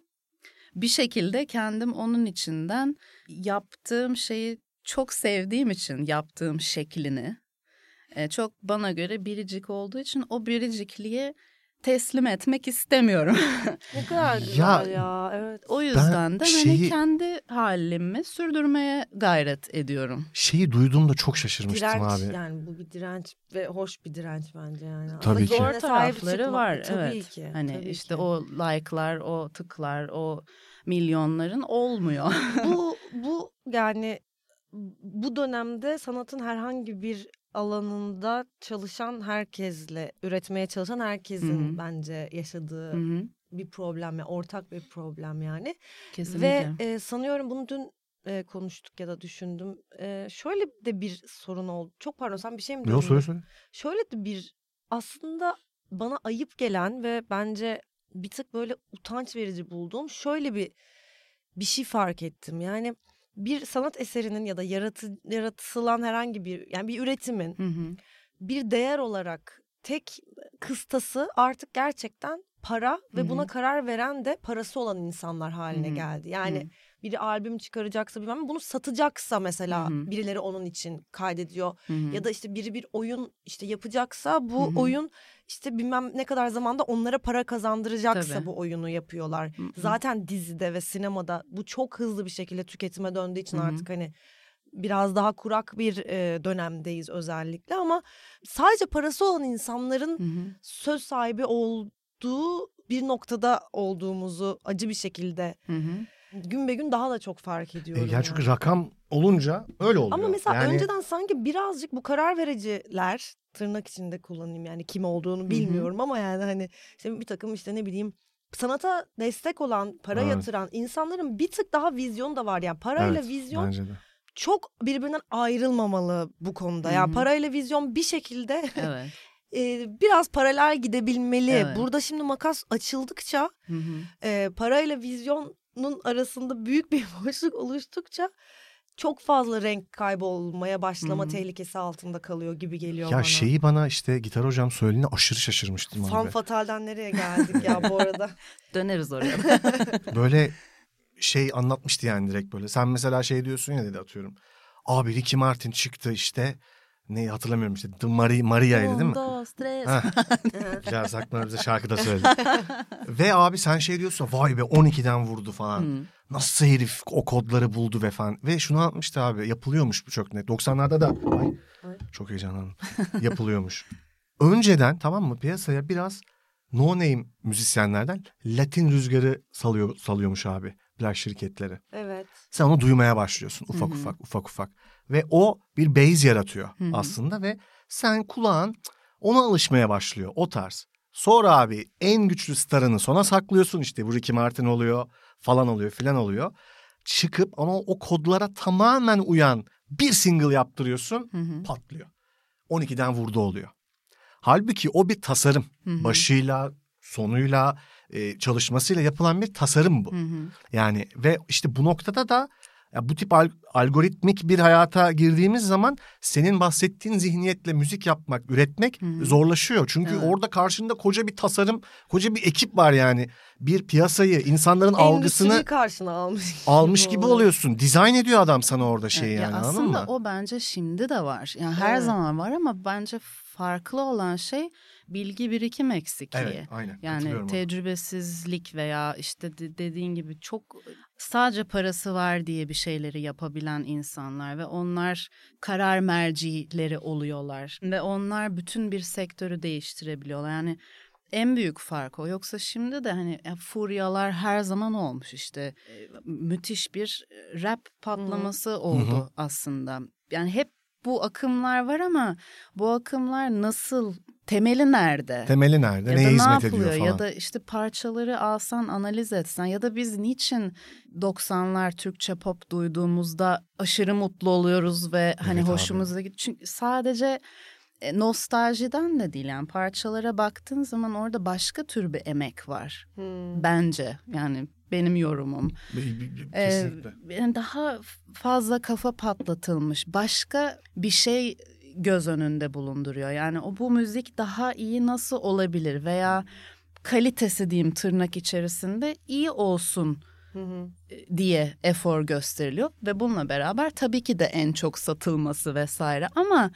F: bir şekilde kendim onun içinden yaptığım şeyi çok sevdiğim için yaptığım şeklini e, çok bana göre biricik olduğu için o biricikliği teslim etmek istemiyorum.
C: Ne kadar güzel ya. evet.
F: o yüzden de hani
E: şeyi-
F: kendi halimi sürdürmeye gayret ediyorum.
E: Şeyi duyduğumda çok şaşırmıştım
C: Direnç
E: abi.
C: yani bu bir direnç ve hoş bir direnç bence yani.
E: Tabii
C: Ama
E: ki.
C: zoruna
F: Zor
C: sahip
F: tarafları
C: çıkmak-
F: var
C: tabii
F: evet.
C: Ki,
F: hani
C: tabii
F: işte
C: ki.
F: o like'lar, o tıklar, o milyonların olmuyor.
C: bu bu yani bu dönemde sanatın herhangi bir alanında çalışan herkesle üretmeye çalışan herkesin
F: Hı hı.
C: bence yaşadığı
F: Hı hı,
C: bir problem ya ortak bir problem yani.
F: Kesinlikle.
C: Ve e, sanıyorum bunu dün e, konuştuk ya da düşündüm. E, şöyle de bir sorun oldu. Çok pardon sen bir şey mi diyordun?
E: Yok söyle söyle.
C: Şöyle de bir aslında bana ayıp gelen ve bence bir tık böyle utanç verici bulduğum şöyle bir bir şey fark ettim. Yani bir sanat eserinin ya da yaratı, yaratılan herhangi bir yani bir üretimin
F: Hı hı.
C: bir değer olarak tek kıstası artık gerçekten para ve
F: Hı hı.
C: buna karar veren de parası olan insanlar haline
F: Hı hı.
C: geldi. Yani biri albüm çıkaracaksa bilmem ne, bunu satacaksa mesela
F: Hı hı.
C: birileri onun için kaydediyor
F: Hı hı.
C: ya da işte biri bir oyun işte yapacaksa bu
F: Hı hı.
C: oyun işte bilmem ne kadar zamanda onlara para kazandıracaksa
F: Tabii.
C: bu oyunu yapıyorlar.
F: Hı hı.
C: Zaten dizide ve sinemada bu çok hızlı bir şekilde tüketime döndüğü için
F: Hı hı.
C: artık hani biraz daha kurak bir e, dönemdeyiz özellikle ama sadece parası olan insanların
F: Hı hı.
C: söz sahibi olduğu bir noktada olduğumuzu acı bir şekilde
F: Hı hı.
C: gün be gün daha da çok fark
E: E,
C: ediyorum.
E: ya
C: yani.
E: çünkü rakam olunca öyle oluyor.
C: Ama mesela
E: Yani
C: önceden sanki birazcık bu karar vericiler tırnak içinde kullanayım yani kim olduğunu bilmiyorum ama yani hani işte bir takım işte ne bileyim sanata destek olan, para
E: Evet.
C: yatıran insanların bir tık daha vizyonu da var. Yani parayla
E: evet,
C: vizyon
E: bence de.
C: çok birbirinden ayrılmamalı bu konuda.
F: Hı
C: Yani
F: hı.
C: parayla vizyon bir şekilde
F: Evet.
C: e, biraz paralel gidebilmeli.
F: Evet.
C: Burada şimdi makas açıldıkça
F: Hı hı.
C: e, parayla vizyonun arasında büyük bir boşluk oluştukça çok fazla renk kaybolmaya başlama
F: Hı hı.
C: tehlikesi altında kalıyor gibi geliyor
E: Ya şey
C: bana.
E: şeyi bana işte gitar hocam söylediğinde aşırı şaşırmıştım abi.
C: Fan fatalden nereye geldik ya bu arada?
F: Döneriz oraya.
E: böyle şey anlatmıştı yani direkt böyle. Sen mesela şey diyorsun ya dedi atıyorum. Abi Ricky Martin çıktı işte. Neyi hatırlamıyorum işte. The Maria, Maria'ydı değil mi? Ha. Güzel Sakman bize şarkı da söyledi. ve abi sen şey diyorsun vay be 12'den vurdu falan.
F: Hı.
E: Nasıl herif o kodları buldu ve falan. Ve şunu anlatmıştı abi yapılıyormuş bu çok net. 90'larda da ay,
C: Ay.
E: çok heyecanlandım. yapılıyormuş. Önceden tamam mı piyasaya biraz no name müzisyenlerden Latin rüzgarı salıyor, salıyormuş abi plak şirketleri.
C: evet.
E: Sen onu duymaya başlıyorsun ufak
F: Hı hı.
E: ufak ufak ufak. Ve o bir base yaratıyor
F: Hı hı.
E: aslında ve sen kulağın ona alışmaya başlıyor o tarz. Sonra abi en güçlü starını sona saklıyorsun işte bu Ricky Martin oluyor falan oluyor filan oluyor. Çıkıp ama o kodlara tamamen uyan bir single yaptırıyorsun
F: Hı hı.
E: patlıyor. 12'den vurdu oluyor. Halbuki o bir tasarım.
F: Hı hı.
E: Başıyla, sonuyla, e, çalışmasıyla yapılan bir tasarım bu.
F: Hı hı.
E: Yani ve işte bu noktada da ya bu tip al- algoritmik bir hayata girdiğimiz zaman senin bahsettiğin zihniyetle müzik yapmak, üretmek
F: Hı hı.
E: zorlaşıyor. Çünkü
F: Evet.
E: orada karşında koca bir tasarım, koca bir ekip var yani. Bir piyasayı, insanların algısını
C: Endüstriyi karşına almış.
E: almış
C: gibi
E: gibi
C: oluyor.
E: oluyorsun. Dizayn ediyor adam sana orada şeyi
F: Evet,
E: yani
F: ya
E: anladın
F: aslında
E: mı?
F: o bence şimdi de var. Yani her
C: Evet.
F: zaman var ama bence farklı olan şey bilgi birikim eksikliği.
E: Evet, aynen. Katılıyorum
F: Yani
E: ona.
F: tecrübesizlik veya işte de- dediğin gibi çok sadece parası var diye bir şeyleri yapabilen insanlar ve onlar karar mercileri oluyorlar ve onlar bütün bir sektörü değiştirebiliyorlar. Yani en büyük fark o. Yoksa şimdi de hani ya, furyalar her zaman olmuş işte. E, Müthiş bir e, rap patlaması oldu
E: Hı hı.
F: aslında. Yani hep bu akımlar var ama bu akımlar nasıl temeli nerede?
E: Temeli nerede?
F: Ya da
E: Neye
F: ne
E: hizmet
F: yapılıyor?
E: ediyor falan.
F: Ya da işte parçaları alsan analiz etsen ya da biz niçin 90'lar Türkçe pop duyduğumuzda aşırı mutlu oluyoruz ve hani
E: Evet abi.
F: hoşumuza gidiyor. Çünkü sadece e, nostaljiden de değil yani parçalara baktığın zaman orada başka tür bir emek var
C: Hmm.
F: bence yani benim yorumum. Ee,
B: Kesinlikle.
F: yani daha fazla kafa patlatılmış başka bir şey göz önünde bulunduruyor. Yani o bu müzik daha iyi nasıl olabilir veya kalitesi diyeyim tırnak içerisinde iyi olsun
C: Hı hı.
F: e, diye efor gösteriliyor ve bununla beraber tabii ki de en çok satılması vesaire ama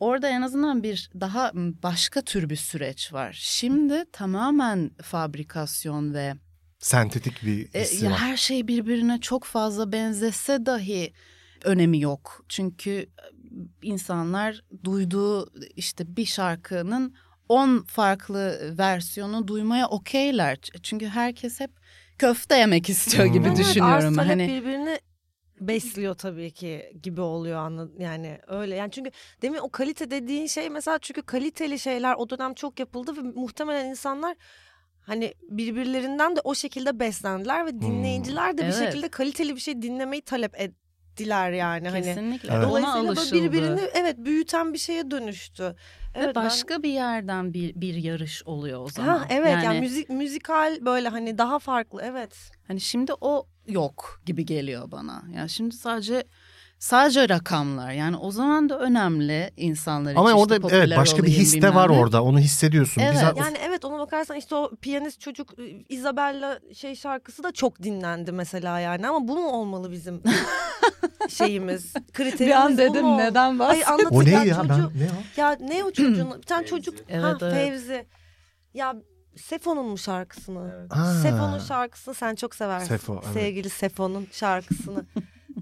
F: orada en azından bir daha m, başka tür bir süreç var. Şimdi tamamen fabrikasyon ve
E: Sentetik bir
F: e,
E: hissi
F: ya
E: var.
F: her şey birbirine çok fazla benzese dahi önemi yok. Çünkü e, insanlar duyduğu işte bir şarkının 10 farklı versiyonu duymaya okeyler. Ç- Çünkü herkes hep köfte yemek istiyor
E: Hmm.
F: gibi
E: Evet,
F: düşünüyorum.
C: arz talep
F: hani
C: birbirini besliyor tabii ki gibi oluyor anla yani öyle yani çünkü demin o kalite dediğin şey mesela çünkü kaliteli şeyler o dönem çok yapıldı ve muhtemelen insanlar hani birbirlerinden de o şekilde beslendiler ve dinleyiciler de bir
F: Hmm, Evet.
C: şekilde kaliteli bir şey dinlemeyi talep ettiler yani hani
F: kesinlikle
E: Evet.
F: ona
C: dolayısıyla böyle
F: alışıldı.
C: birbirini evet büyüten bir şeye dönüştü.
F: Ve
C: Evet, ben-
F: başka bir yerden bir, bir yarış oluyor o zaman.
C: Ha, evet yani, müzik müzikal böyle hani daha farklı evet.
F: Hani şimdi o yok gibi geliyor bana. Yani şimdi sadece sadece rakamlar yani o zaman da önemli insanlar için.
E: Ama
F: işte
E: orada
F: popüler
E: evet başka bir
F: olayım,
E: his de
F: bilmem
E: var
F: ne.
E: orada. Onu hissediyorsun.
F: Evet,
E: Biz-
C: Yani evet ona bakarsan işte o piyanist çocuk e, Isabella şey şarkısı da çok dinlendi mesela yani ama bu mu olmalı bizim şeyimiz kriterimiz
F: Bir an
C: bu
F: dedim
C: mu?
F: neden
C: Ay
F: bahsediyorsun?
E: O ne
C: anlatırken
E: ya?
C: çocuğu
E: Ben ne o?
C: ya ne o çocuğun bir tane
D: Fevzi.
C: çocuk ha,
F: Evet, evet.
C: Fevzi ya Sefo'nun mu şarkısını?
E: Ha.
C: Sefo'nun şarkısını sen çok seversin.
E: Sefo, evet.
C: Sevgili Sefo'nun şarkısını.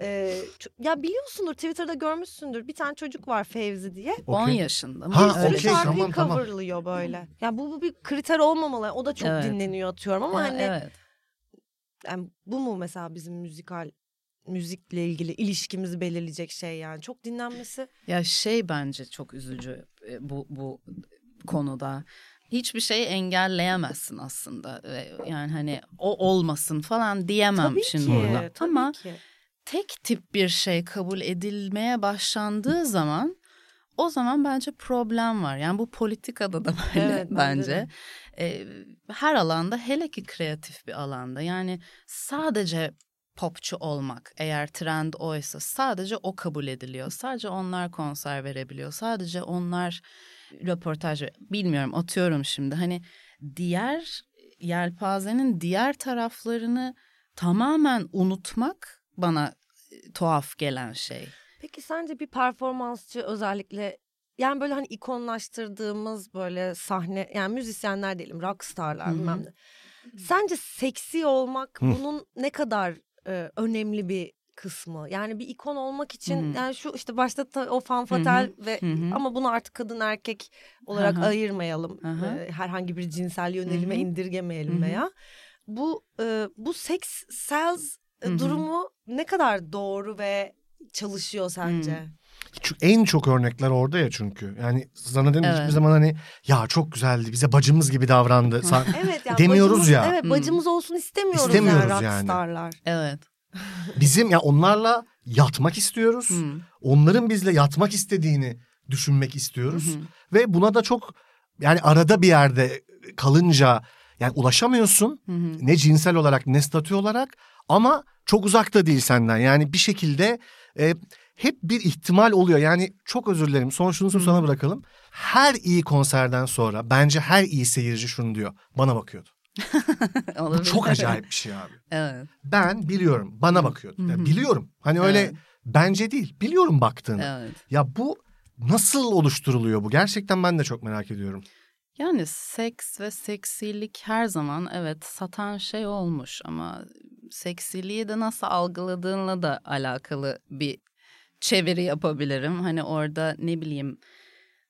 C: Ee, ço- ya biliyorsundur Twitter'da görmüşsündür. Bir tane çocuk var Fevzi diye.
F: 10
E: Okey.
F: yaşında mı?
E: Ha,
C: Bir sürü
E: okey,
C: şarkıyı
E: tamam, tamam.
C: coverlıyor böyle. Yani bu, bu bir kriter olmamalı. O da çok
F: Evet.
C: dinleniyor atıyorum ama
F: Ha,
C: hani
F: Evet.
C: yani bu mu mesela bizim müzikal müzikle ilgili ilişkimizi belirleyecek şey yani çok dinlenmesi.
F: Ya şey bence çok üzücü e, bu bu konuda. Hiçbir şeyi engelleyemezsin aslında. Ve Yani hani o olmasın falan diyemem
C: tabii
F: şimdi
C: ki.
F: burada.
C: Tabii
F: Ama
C: ki.
F: tek tip bir şey kabul edilmeye başlandığı zaman o zaman bence problem var. Yani bu politikada da böyle
C: Evet,
F: bence.
C: bence de.
F: Ee, her alanda hele ki kreatif bir alanda yani sadece popçu olmak eğer trend oysa sadece o kabul ediliyor. Sadece onlar konser verebiliyor. Sadece onlar röportaj ver- bilmiyorum atıyorum şimdi hani diğer yelpazenin diğer taraflarını tamamen unutmak bana e, tuhaf gelen şey.
C: Peki sence bir performansçı özellikle yani böyle hani ikonlaştırdığımız böyle sahne yani müzisyenler diyelim rockstarlar
F: Hı hı.
C: bilmem ne. Sence seksi olmak
E: Hı.
C: bunun ne kadar e, önemli bir kısmı? Yani bir ikon olmak için
F: Hı.
C: yani şu işte başta ta- o fanfatel ve
F: Hı hı.
C: ama bunu artık kadın erkek olarak
F: Hı hı.
C: ayırmayalım.
F: Hı hı.
C: E, herhangi bir cinsel yönelime
F: Hı hı.
C: indirgemeyelim
F: Hı hı.
C: veya bu e, bu seks sells e,
F: Hı hı. Hmm.
C: durumu ne kadar doğru ve çalışıyor sence?
E: Çünkü en çok örnekler orada ya çünkü. Yani zannederim
F: Evet.
E: hiçbir zaman hani ya çok güzeldi bize bacımız gibi davrandı. Sa-
C: Evet yani
E: Demiyoruz
C: bacımız-
E: ya.
C: Evet
F: Hmm.
C: bacımız olsun istemiyoruz,
E: İstemiyoruz
C: yani
E: yani.
C: rockstarlar.
F: Evet.
E: Bizim ya onlarla yatmak istiyoruz.
F: Hmm.
E: Onların bizle yatmak istediğini düşünmek istiyoruz.
F: Hı hı.
E: Ve buna da çok yani arada bir yerde kalınca yani ulaşamıyorsun.
F: Hı hı.
E: Ne cinsel olarak ne statü olarak ama çok uzakta değil senden. Yani bir şekilde e, hep bir ihtimal oluyor. Yani çok özür dilerim son şunu sana bırakalım. Her iyi konserden sonra bence her iyi seyirci şunu diyor. Bana bakıyordu. Bu
F: Olabilir.
E: çok acayip bir şey abi.
F: Evet.
E: Ben biliyorum bana bakıyordu.
F: Hı hı.
E: Yani biliyorum hani öyle
F: Evet.
E: bence değil biliyorum baktığını.
F: Evet.
E: Ya bu nasıl oluşturuluyor bu? Gerçekten ben de çok merak ediyorum.
F: Yani seks ve seksilik her zaman evet satan şey olmuş ama seksiliği de nasıl algıladığınla da alakalı bir çeviri yapabilirim. Hani orada ne bileyim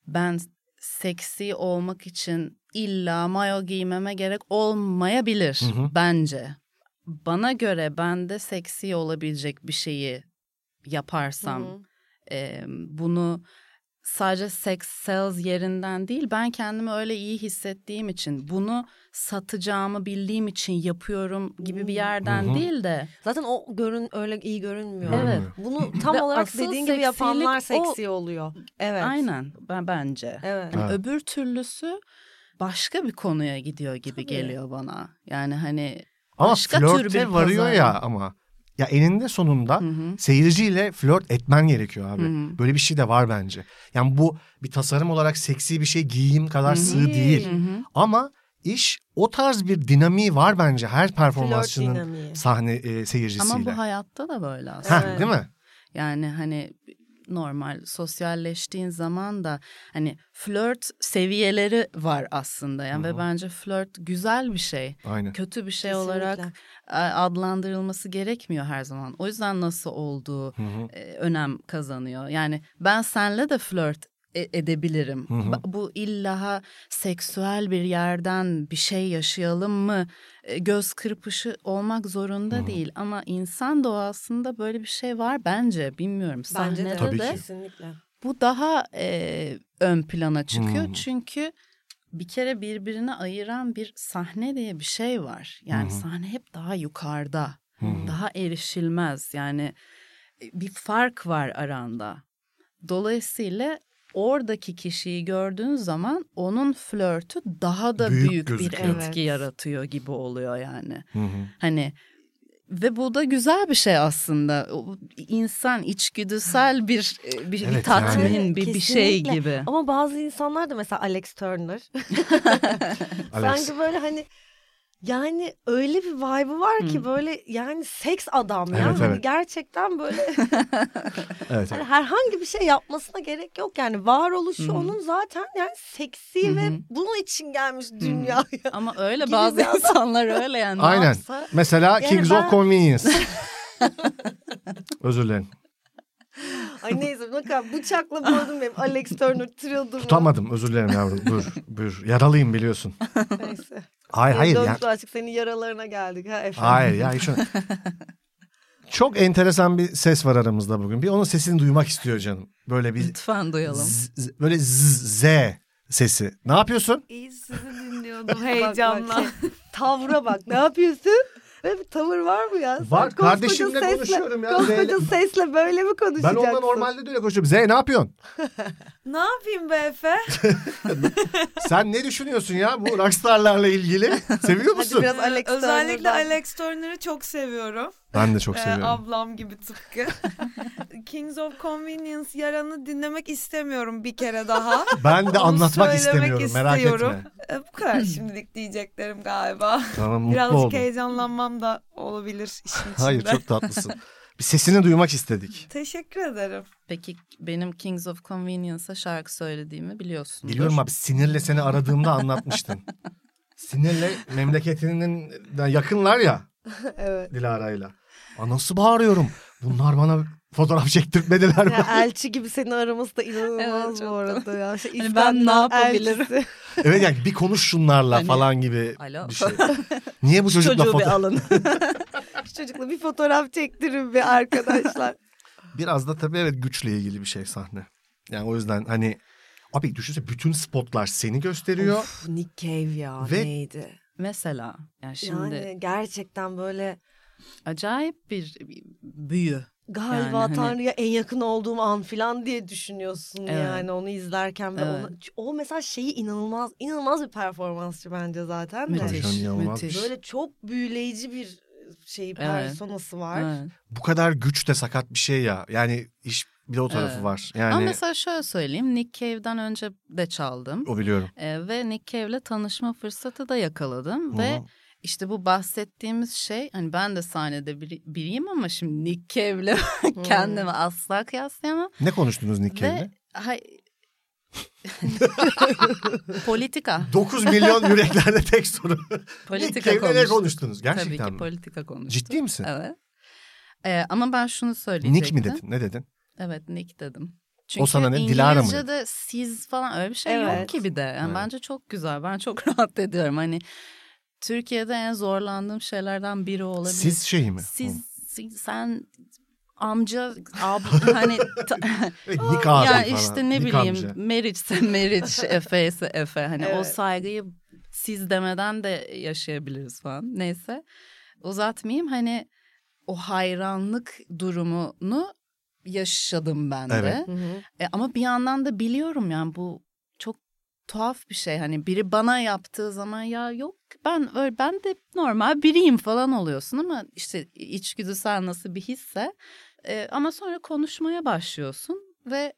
F: ben seksi olmak için illa mayo giymeme gerek olmayabilir
E: Hı hı.
F: bence. Bana göre ben de seksi olabilecek bir şeyi yaparsam
C: Hı.
F: e, bunu sadece sex sales yerinden değil ben kendimi öyle iyi hissettiğim için bunu satacağımı bildiğim için yapıyorum gibi bir yerden
E: Hı hı.
F: değil de
C: Zaten o görün öyle iyi görünmüyor.
E: Evet.
F: evet
C: Bunu tam
F: Ve
C: olarak
F: asıl
C: dediğin gibi yapanlar
F: seksilik o-
C: seksi oluyor. Evet.
F: aynen ben bence
C: Evet.
E: Evet.
F: Yani öbür türlüsü başka bir konuya gidiyor gibi
C: Tabii.
F: geliyor bana yani hani
E: Ama
F: Başka tür
E: flörte
F: bir
E: varıyor
F: pazar.
E: ya ama. Ya eninde sonunda
F: hı hı.
E: seyirciyle flört etmen gerekiyor abi.
F: Hı hı.
E: Böyle bir şey de var bence. Yani bu bir tasarım olarak seksi bir şey giyeyim kadar
F: Hı hı.
E: sığ değil.
F: Hı hı.
E: Ama iş o tarz bir dinamiği var bence her
C: Flört
E: performansçının
C: dinamiği.
E: sahne e,
F: ama
E: seyircisiyle.
F: bu hayatta da böyle aslında.
E: Heh,
C: Evet.
E: Değil mi?
F: Yani hani normal sosyalleştiğin zaman da hani flört seviyeleri var aslında yani ve bence flört güzel bir şey.
E: Aynen.
F: Kötü bir şey
C: Kesinlikle.
F: olarak e, adlandırılması gerekmiyor her zaman. O yüzden nasıl olduğu
E: Hı hı.
F: e, önem kazanıyor. Yani ben senle de flört e- edebilirim.
E: hı.
F: Ba- Bu illa ha seksüel bir yerden bir şey yaşayalım mı? e, Göz kırpışı olmak zorunda değil ama insan doğasında böyle bir şey var bence. Bilmiyorum
C: Bence de.
F: sahnede
E: Tabii
F: de
E: ki.
C: Kesinlikle.
F: bu daha e, ön plana çıkıyor.
E: Hı.
F: Çünkü bir kere birbirine ayıran bir sahne diye bir şey var. Yani sahne hep daha yukarıda. Daha erişilmez. Yani e, bir fark var aranda. Dolayısıyla oradaki kişiyi gördüğün zaman onun flörtü daha da
E: Büyük
F: büyük, bir
E: gözüküyor.
F: etki
C: Evet.
F: yaratıyor gibi oluyor yani.
E: Hı hı.
F: Hani ve bu da güzel bir şey aslında. O insan içgüdüsel bir e, bir, bir
E: Evet,
F: tatmin,
C: yani.
F: bir, bir şey
C: Kesinlikle.
F: gibi.
C: Ama bazı insanlar da mesela Alex Turner.
E: Alex.
C: Sanki böyle hani yani öyle bir vibe'ı var ki
F: Hmm.
C: böyle yani seks adam ya.
E: Evet,
C: Hani
E: evet.
C: gerçekten böyle
E: Evet,
C: hani
E: evet.
C: herhangi bir şey yapmasına gerek yok yani. Varoluşu
F: Hı hı.
C: onun zaten yani seksi
F: Hı hı.
C: ve bunun için gelmiş dünyaya.
F: Ama öyle
C: Gibi
F: bazı
C: bir adam.
F: insanlar öyle yani. ne
E: Aynen.
F: yapsa-
E: Mesela
C: Yani
E: Kings
C: ben-
E: of Convenience. Özür dilerim.
C: Ay neyse bakın bıçakla boğdum benim Alex Turner tırıldım.
E: Tutamadım özür dilerim yavrum. Buyur buyur. Yaralıyım biliyorsun.
C: Neyse.
E: Hayır hayır ya.
C: Açık senin yaralarına geldik ha efendim.
E: Hayır ya hiç öyle- Çok enteresan bir ses var aramızda bugün. Bir onun sesini duymak istiyor canım. Böyle bir
F: Lütfen duyalım.
E: z- z- böyle z, z sesi. Ne yapıyorsun?
G: İyi sizi dinliyordum
C: Bak,
G: heyecanla.
C: bak, şey, tavra bak ne yapıyorsun? Böyle bir tavır var mı ya? Sen
E: Var,
C: koskoca
E: kardeşimle
C: sesle-
E: konuşuyorum ya.
C: Koskoca
E: Neyle-
C: sesle böyle mi
E: Ben
C: konuşacaksın?
E: onunla normalde de öyle konuşuyorum. Z ne yapıyorsun?
G: ne yapayım be Efe?
E: Sen ne düşünüyorsun ya bu rockstarlarla ilgili? Seviyor
C: Hadi
E: musun?
C: biraz Alex
G: Özellikle
C: Turner'dan.
G: Alex Turner'ı çok seviyorum.
E: Ben de çok
G: Ee,
E: seviyorum.
G: ablam gibi tıpkı. Kings of Convenience yaranı dinlemek istemiyorum bir kere daha.
E: Ben de
G: Onu
E: anlatmak
G: söylemek
E: istemiyorum. Merak
G: istiyorum.
E: etme.
G: Ee, bu kadar şimdilik diyeceklerim galiba.
E: Tamam mutlu
G: Birazcık
E: oldum.
G: heyecanlanmam da olabilir işin içinde.
E: Hayır çok tatlısın. Bir sesini duymak istedik.
G: Teşekkür ederim.
F: Peki benim Kings of Convenience'a şarkı söylediğimi biliyorsun.
E: Biliyorum abi sinirle seni aradığımda anlatmıştın. Sinirle memleketinin yakınlar ya
C: Evet.
E: Dilara'yla. Aa, nasıl bağırıyorum? Bunlar bana fotoğraf çektirtmediler mi?
C: Ya elçi gibi seni araması da inanılmaz
F: Evet, çok
C: bu arada ya. Şey,
F: Hani ben ne
C: İskandinav
F: yapabilirim?
C: elçisi.
E: evet yani bir konuş şunlarla
F: Hani-
E: falan gibi
F: Alo.
E: bir şey. Niye bu çocukla
F: Çocuğu bir
E: fotoğraf?
F: alın.
C: Şu çocukla bir fotoğraf çektirin bir arkadaşlar.
E: Biraz da tabii evet güçle ilgili bir şey sahne. Yani o yüzden hani abi düşünsene bütün spotlar seni gösteriyor.
C: Of, Nick Cave ya
E: Ve-
C: neydi?
F: Mesela yani şimdi
C: Yani gerçekten böyle
F: acayip bir büyü.
C: galiba
F: Yani hani-
C: Tanrı'ya en yakın olduğum an falan diye düşünüyorsun
F: Evet.
C: yani onu izlerken. Ve
F: Evet.
C: ona- o mesela şeyi inanılmaz inanılmaz bir performansçı bence zaten de.
E: Tabii
F: Müthiş,
E: canım, inanılmaz bir
F: müthiş.
C: Böyle çok büyüleyici bir şey personası var.
F: Evet.
E: Bu kadar güç de sakat bir şey ya. Yani iş bir de o tarafı
F: Evet.
E: var. Yani
F: Ama mesela şöyle söyleyeyim. Nick Cave'den önce de çaldım.
E: o biliyorum.
F: Ee, ve Nick Cave'le tanışma fırsatı da yakaladım.
E: Hı
F: Ve
E: hı.
F: işte bu bahsettiğimiz şey hani ben de sahnede biri, biriyim ama şimdi Nick Cave'le
C: Hmm.
F: kendimi asla kıyaslayamam.
E: Ne konuştunuz Nick
F: Ve
E: Cave'le?
F: hay... politika.
E: 9 milyon yüreklerde tek soru. Nick
F: Politika
E: Cave'le ne
F: konuştuk.
E: konuştunuz? Gerçekten
F: Tabii ki
E: mi?
F: politika konuştuk.
E: Ciddi misin?
F: Evet. Ee, ama ben şunu söyleyecektim.
E: Nick mi dedin? Ne dedin?
F: Evet Nick dedim.
E: sana ne? Dilara mı dedi?
F: İngilizce'de siz falan öyle bir şey yok
C: Evet.
F: ki bir de. Yani
E: Evet.
F: Bence çok güzel. Ben çok rahat ediyorum. Hani Türkiye'de en zorlandığım şeylerden biri olabilir.
E: Siz şey mi?
F: Siz, siz- sen amca abi hani ta-
E: Evet, E, Nick abi
F: ya
E: falan.
F: işte ne
E: Nick
F: bileyim
E: amca.
F: meriçse meriç efe ise efe hani o
C: Evet.
F: saygıyı siz demeden de yaşayabiliriz falan neyse uzatmayayım hani o hayranlık durumunu yaşadım ben de
E: Evet.
C: Hı hı.
F: E, ama bir yandan da biliyorum yani bu çok tuhaf bir şey hani biri bana yaptığı zaman ya yok ben öyle ben de normal biriyim falan oluyorsun ama işte içgüdüsel nasıl bir hisse E, ama sonra konuşmaya başlıyorsun ve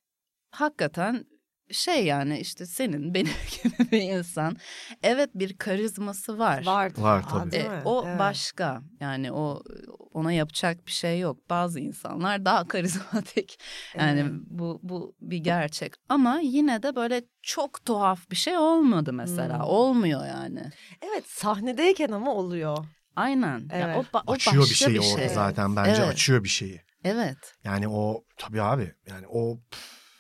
F: hakikaten şey yani işte senin benim gibi bir insan evet bir karizması var.
C: Var.
E: Var
C: Aa,
E: tabii.
C: değil
F: E,
C: mi?
F: o
C: Evet.
F: başka yani o ona yapacak bir şey yok. Bazı insanlar daha karizmatik yani
C: Evet.
F: bu bu bir gerçek ama yine de böyle çok tuhaf bir şey olmadı mesela.
C: Hmm.
F: Olmuyor yani.
C: Evet sahnedeyken ama oluyor.
F: Aynen. Ya
C: Evet.
F: o, ba- o
E: Açıyor bir
F: başka şey.
E: şeyi orada zaten bence
F: Evet.
E: açıyor bir şeyi.
F: Evet.
E: Yani o tabii abi yani o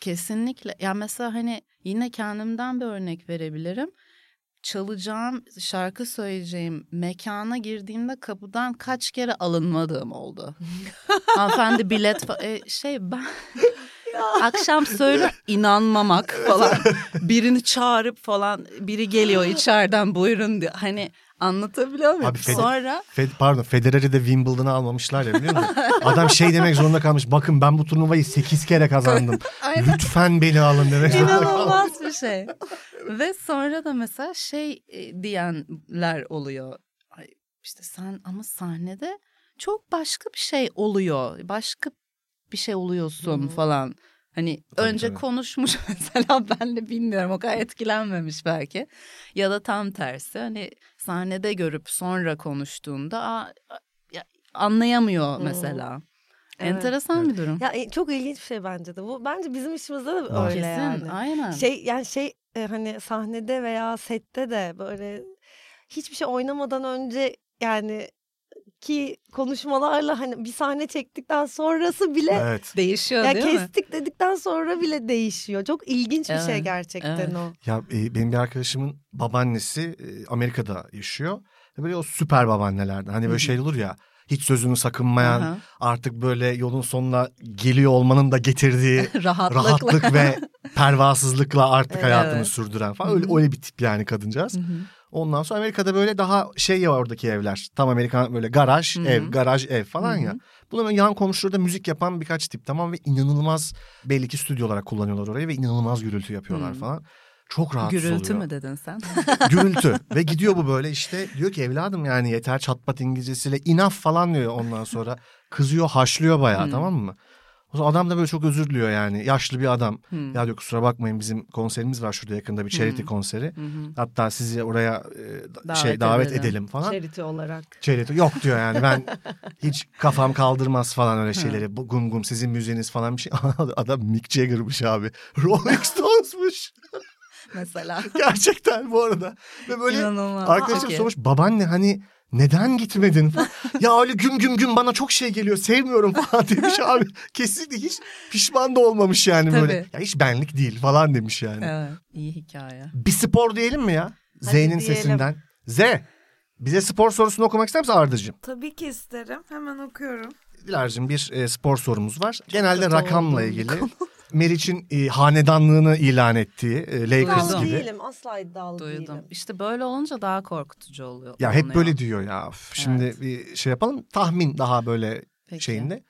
F: Kesinlikle. Ya mesela hani yine kendimden bir örnek verebilirim. Çalacağım, şarkı söyleyeceğim mekana girdiğimde kapıdan kaç kere alınmadığım oldu. Hanımefendi bilet fa- e, şey ben akşam söyle inanmamak falan birini çağırıp falan biri geliyor içeriden buyurun diyor. Hani anlatabiliyor muyum?
E: Abi Fede-
F: Sonra
E: Fed, pardon Federer'i de Wimbledon'a almamışlar ya biliyor musun? Adam şey demek zorunda kalmış. Bakın ben bu turnuvayı 8 kere kazandım.
F: Aynen.
E: Lütfen beni alın demek zorunda kalmış.
F: İnanılmaz bir şey. Ve sonra da mesela şey e, diyenler oluyor. Ay, işte sen ama sahnede çok başka bir şey oluyor. Başka bir şey oluyorsun
C: Hı.
F: falan. Hani
E: Tabii,
F: önce
E: tabii.
F: konuşmuş mesela ben de bilmiyorum o kadar etkilenmemiş belki. Ya da tam tersi hani sahnede görüp sonra konuştuğunda "Aa, ya, anlayamıyor
C: Hı.
F: mesela.
C: Evet.
F: Enteresan bir durum.
C: Ya e, çok ilginç bir şey bence de. Bu bence bizim işimizde de
E: Var.
C: öyle yani.
F: Kesin aynen.
C: Şey yani şey e, hani sahnede veya sette de böyle hiçbir şey oynamadan önce yani ki konuşmalarla hani bir sahne çektikten sonrası bile
E: Evet.
F: değişiyor
C: ya
F: değil mi?
C: kestik dedikten sonra bile değişiyor. Çok ilginç bir şey
F: Evet,
C: gerçekten
F: evet.
C: o.
E: Ya e, benim bir arkadaşımın babaannesi e, Amerika'da yaşıyor. Böyle o süper babaannelerden. Hani
F: Hı
E: böyle
F: hı.
E: şey olur ya. Hiç sözünü sakınmayan,
F: Aha.
E: artık böyle yolun sonuna geliyor olmanın da getirdiği
F: Rahatlıkla.
E: rahatlık ve pervasızlıkla artık
C: Evet.
E: hayatını sürdüren falan. Öyle,
F: Hı hı.
E: öyle bir tip yani kadıncağız.
F: Hı hı.
E: Ondan sonra Amerika'da böyle daha şey ya oradaki evler. Tam Amerikan böyle garaj
F: Hı hı.
E: ev, garaj ev falan
F: Hı hı.
E: ya. Bunların yan komşularda müzik yapan birkaç tip tamam ve inanılmaz belli ki stüdyo olarak kullanıyorlar orayı ve inanılmaz gürültü yapıyorlar
F: Hı.
E: falan. Çok rahatsız
F: Gürültü
E: oluyor.
F: mü dedin sen?
E: Gürültü. ve gidiyor bu böyle işte diyor ki evladım yani yeter çatpat İngilizcesiyle inaf falan diyor ondan sonra. Kızıyor haşlıyor bayağı
F: Hı.
E: tamam mı? O zaman adam da böyle çok özür diliyor yani. Yaşlı bir adam.
F: Hı.
E: Ya diyor kusura bakmayın bizim konserimiz var şurada yakında bir charity
F: Hı.
E: konseri.
F: Hı hı.
E: Hatta sizi oraya e, da-
F: Davet
E: şey davet
F: edelim.
E: edelim, falan.
C: Charity olarak.
E: Çeyreto yok diyor yani ben hiç kafam kaldırmaz falan öyle şeyleri. Bu gum gum sizin müziğiniz falan bir şey. Adam Mick Jagger'mış abi. Rolling Stones'muş.
F: Mesela.
E: Gerçekten bu arada. Ve böyle
F: İnanılmaz.
E: arkadaşım
F: Peki.
E: sormuş babaanne hani neden gitmedin falan. ya öyle güm güm güm bana çok şey geliyor sevmiyorum falan demiş abi. Kesinlikle hiç pişman da olmamış yani böyle.
F: Tabii.
E: Ya hiç benlik değil falan demiş yani.
F: Evet. İyi hikaye.
E: Bir spor diyelim mi ya? Z'nin
C: diyelim.
E: sesinden. Z. Bize spor sorusunu okumak ister misin Arda'cığım?
G: Tabii ki isterim. Hemen okuyorum.
E: Dilar'cığım bir e, spor sorumuz var. Genelde
F: kötü
E: rakamla
F: oldum bu
E: ilgili. Meriç'in e, hanedanlığını ilan ettiği e, Lakers
F: Duydum.
C: İddialı
E: gibi.
C: değilim. Asla iddialı
F: Duydum.
C: değilim.
F: İşte böyle olunca daha korkutucu oluyor.
E: Ya hep
F: oluyor.
E: böyle diyor ya. Üf, Şimdi bir şey yapalım. Tahmin daha böyle
F: Peki.
E: şeyinde.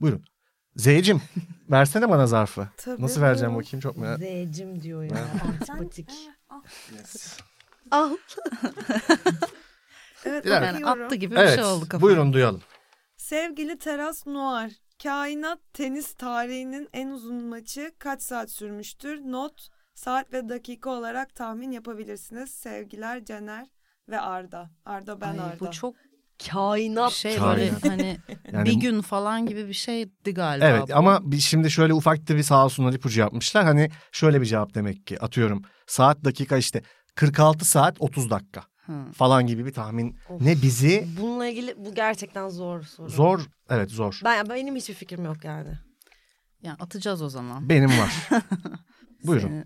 E: Buyurun. Zeycim versene bana zarfı.
G: Tabii.
E: Nasıl vereceğim bakayım çok merak
C: Z'cim diyor ya. Antipatik.
G: Evet
E: Dilara.
F: Yani
G: bakıyorum.
F: attı gibi bir
E: Evet
F: şey oldu kafam.
E: buyurun duyalım.
G: Sevgili Teras Noir. Kainat tenis tarihinin en uzun maçı kaç saat sürmüştür? Not, saat ve dakika olarak tahmin yapabilirsiniz. Sevgiler Cener ve Arda. Arda ben
F: Ay,
G: Arda.
F: bu çok
C: Kainat.
F: şey
E: Kainat.
F: böyle hani
E: Yani
F: bir gün falan gibi bir şeydi galiba.
E: Evet
F: bu.
E: ama bir- şimdi şöyle ufak da bir sağ olsunlar ipucu yapmışlar. Hani şöyle bir cevap demek ki atıyorum saat dakika işte 46 saat 30 dakika
F: Hı.
E: falan gibi bir tahmin.
C: Of.
E: Ne bizi
C: Bununla ilgili bu gerçekten zor soru.
E: zor evet zor.
C: Ben benim hiçbir fikrim yok yani.
F: Yani atacağız o zaman.
E: Benim var. Buyurun.
F: Seni,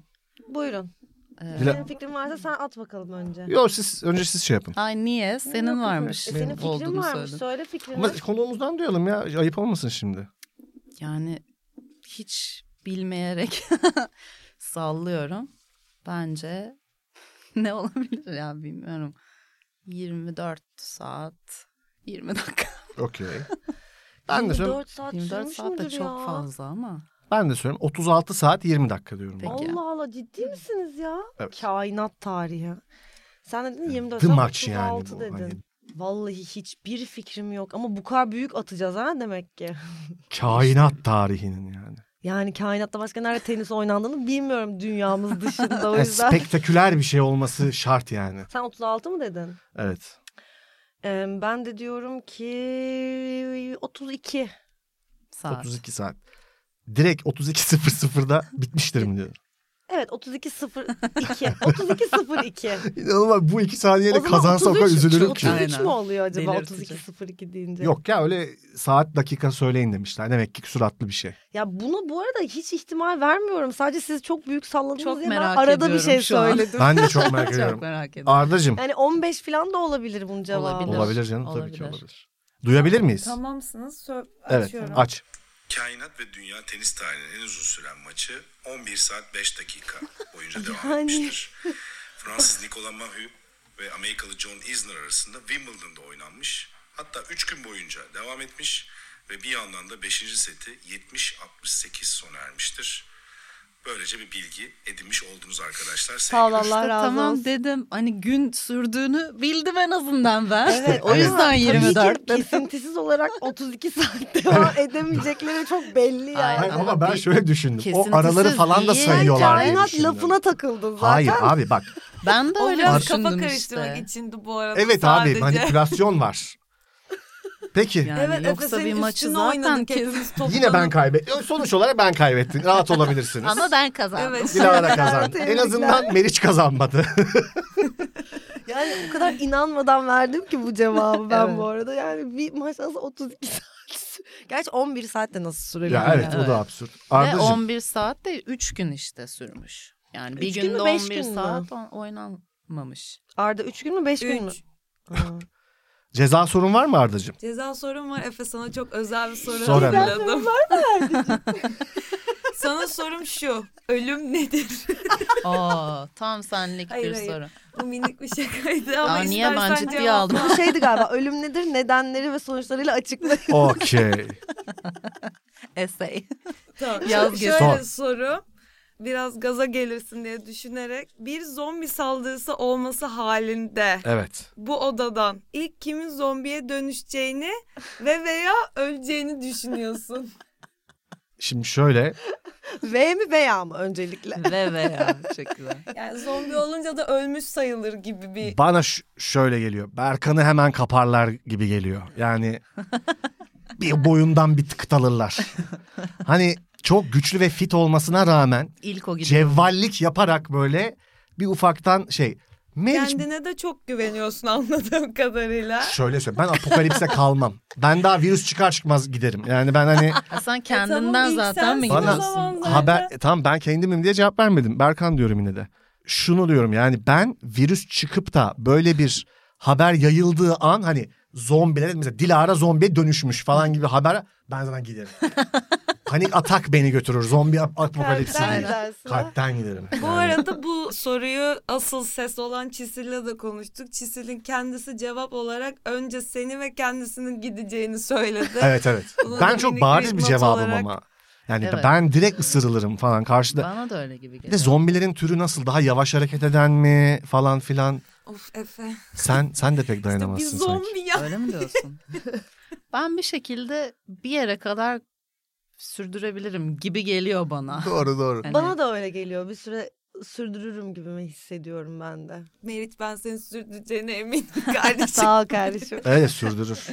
C: Buyurun.
F: e,
E: Dila-
C: Senin fikrin varsa sen at bakalım önce.
E: Yok siz önce siz şey yapın.
F: Ay niye? Senin varmış.
C: E, senin fikrin
F: olduğunu
C: varmış.
F: söyledin.
C: Söyle fikrini.
E: Ama konuğumuzdan duyalım ya ayıp olmasın şimdi.
F: Yani hiç bilmeyerek sallıyorum. Bence ne olabilir ya bilmiyorum. 24 saat 20 dakika.
E: Okey. Ben de söylüyorum.
C: 24 saat
F: 24 saat
C: sürmüşümdür
F: de
C: ya.
F: çok fazla ama.
E: Ben de söylüyorum 36 saat 20 dakika diyorum.
F: Peki.
C: Allah Allah ciddi misiniz ya?
E: Evet.
C: Kainat tarihi. Sen dedin 24
E: The
C: saat
E: Match yani
C: 36
E: bu,
C: dedin.
E: hani.
C: Vallahi hiçbir fikrim yok ama bu kadar büyük atacağız ha demek ki.
E: Kainat tarihinin yani.
C: Yani kainatta başka nerede tenis oynandığını bilmiyorum dünyamız dışında o
E: Yani
C: yüzden.
E: spektaküler bir şey olması şart yani.
C: Sen 36 mı dedin?
E: Evet.
C: Ee, ben de diyorum ki 32.
F: Saat.
E: 32 saat. Direkt 32.00'da bitmiştir mi diyor.
C: Evet 32 02. 32 02.
E: İnanılmaz bu iki
C: O
E: saniyeyle
C: zaman
E: kazansa o kadar
C: 33
E: üzülürüm ki.
C: 33
F: Aynen.
C: mi oluyor acaba
F: Delirtici.
C: 32 02 deyince?
E: Yok ya öyle saat dakika söyleyin demişler. Demek ki süratli bir şey.
C: Ya bunu bu arada hiç ihtimal vermiyorum. Sadece siz çok büyük salladınız
F: Çok
C: diye ben
F: merak
C: arada bir
F: ediyorum
C: şey
F: şu an.
C: söyledim.
E: Ben de çok merak
F: Çok
E: ediyorum.
F: merak ediyorum.
E: Ardacığım
C: Yani 15 falan da olabilir bunun cevabı.
F: Olabilir.
E: olabilir canım tabii ki
F: Olabilir.
E: olabilir. Duyabilir miyiz?
G: Tamamsınız. Sö-
E: Evet
G: açıyorum.
E: aç.
D: Kainat ve dünya tenis tarihinin en uzun süren maçı 11 saat 5 dakika boyunca devam
C: Yani.
D: etmiştir. Fransız Nicolas Mahut ve Amerikalı John Isner arasında Wimbledon'da oynanmış. Hatta 3 gün boyunca devam etmiş ve bir yandan da 5. seti 70-68 sona ermiştir. Böylece bir bilgi edinmiş oldunuz arkadaşlar.
C: Sağ ol
D: Sevgili
C: Allah razı
F: tamam
C: olsun.
F: dedim hani gün sürdüğünü bildim en azından ben. hani
C: Evet,
F: o yüzden
C: Tabii ki
F: 24 dedim.
C: kesintisiz olarak 32 saat devam edemeyecekleri çok belli yani.
E: Hayır,
F: Aynen.
E: ama
F: Ama
E: ben
F: bir
E: şöyle düşündüm. O
F: kesintisiz
E: araları falan da
F: değil.
E: sayıyorlar. diye
C: Kainat
E: düşündüm.
C: lafına takıldın zaten.
E: Hayır abi bak.
F: Ben de
G: O
F: öyle
G: biraz
F: düşündüm
G: kafa karıştırmak
F: işte.
G: içindi bu arada
E: Evet
G: sadece.
E: abi hani- manipülasyon var. Peki
F: Yani
G: Evet Efe
F: yoksa bir
G: senin
F: maçı
G: üstüne
F: zaten
G: oynadık
F: kes...
G: hepimiz toplanıp.
E: yine ben kaybettim. Sonuç olarak ben kaybettim. Rahat olabilirsiniz.
F: Ama ben kazandım.
G: Evet.
E: Dilara kazandı. en
C: Tebrikler.
E: azından Meriç kazanmadı.
C: Yani o kadar inanmadan verdim ki bu cevabı ben
F: Evet.
C: bu arada. Yani bir maç nasıl 32 saat sü- Gerçi 11 saat de nasıl sürüyor?
E: ya evet o
F: Evet.
E: da absürt.
F: Ve
E: Ardacığım
F: 11 saat de 3 gün işte sürmüş. Yani bir
C: Üç gün
F: günde
C: mü, beş
F: 11
C: gün mü?
F: saat on- oynanmamış.
C: Arda 3 gün mü 5 gün mü?
G: Üç.
C: Aa.
E: ceza sorun var mı Ardacığım?
G: Ceza sorum var. Efe sana çok özel bir soru
E: Sor hemen.
G: hazırladım. sana sorum şu. Ölüm nedir?
F: Aa, tam senlik
G: Hayır,
F: bir
G: hayır.
F: soru.
G: Bu minik bir şakaydı ama
F: Aa, niye ben
G: istersen
F: ciddiye
G: cevap-
F: aldım?
C: Bu şeydi galiba ölüm nedir nedenleri ve sonuçlarıyla açıklayın.
E: Okey.
F: Essay.
G: Tamam.
F: Yaz
G: Şöyle
F: geç.
E: Sor.
G: soru. Biraz gaza gelirsin diye düşünerek bir zombi saldırısı olması halinde
E: Evet.
G: bu odadan ilk kimin zombiye dönüşeceğini ve veya öleceğini düşünüyorsun.
E: Şimdi şöyle
C: V mi veya mı öncelikle?
F: ve ve ya. Çok güzel.
G: Yani zombi olunca da ölmüş sayılır gibi bir
E: bana ş- şöyle geliyor. Berkan'ı hemen kaparlar gibi geliyor. Yani bir boyundan bir tık alırlar. Hani çok güçlü ve fit olmasına rağmen
F: İlk o gidiyor.
E: cevvallik yaparak böyle bir ufaktan şey. Meriç
G: kendine de çok güveniyorsun anladığım kadarıyla.
E: şöyle söyle ben apokalipse kalmam. Ben daha virüs çıkar çıkmaz giderim. Yani ben hani
F: Ha, sen
G: E tamam,
F: kendinden
G: ilk
F: zaten mi
G: sensin o
E: Bana-
F: gidiyorsun?
G: zaman zaten.
E: haber e, tamam ben kendimim diye cevap vermedim. Berkan diyorum yine de. Şunu diyorum yani ben virüs çıkıp da böyle bir haber yayıldığı an hani zombiler mesela Dilara zombiye dönüşmüş falan gibi haber ben zaten giderim. Panik atak beni götürür zombi ap- apokalipsi
G: Kalpten
E: değil.
G: gidersin, ha?
E: Kalpten giderim.
G: Bu
E: Yani
G: arada bu soruyu asıl ses olan Çisil'le de konuştuk. Çisil'in kendisi cevap olarak önce seni ve kendisinin gideceğini söyledi.
E: Evet evet.
G: Bunu
E: ben
G: da
E: çok
G: minik
E: bariz
G: bir
E: bir
G: not
E: cevabım
G: olarak-
E: ama. Yani
F: Evet.
E: ben direkt ısırılırım falan karşıda.
F: Bana da öyle gibi
E: Bir de
F: geliyor.
E: zombilerin türü nasıl? Daha yavaş hareket eden mi falan filan.
G: Of Efe.
E: Sen sen de pek
G: İşte bir
E: dayanamazsın sanki.
G: zombi ya.
F: Öyle mi diyorsun? ben bir şekilde bir yere kadar sürdürebilirim gibi geliyor bana.
E: Doğru doğru.
F: Hani-
C: Bana da öyle geliyor. Bir süre sürdürürüm gibi mi hissediyorum ben de.
G: Merit ben seni sürdüreceğine eminim kardeşim.
C: Sağ ol kardeşim.
E: Evet sürdürür.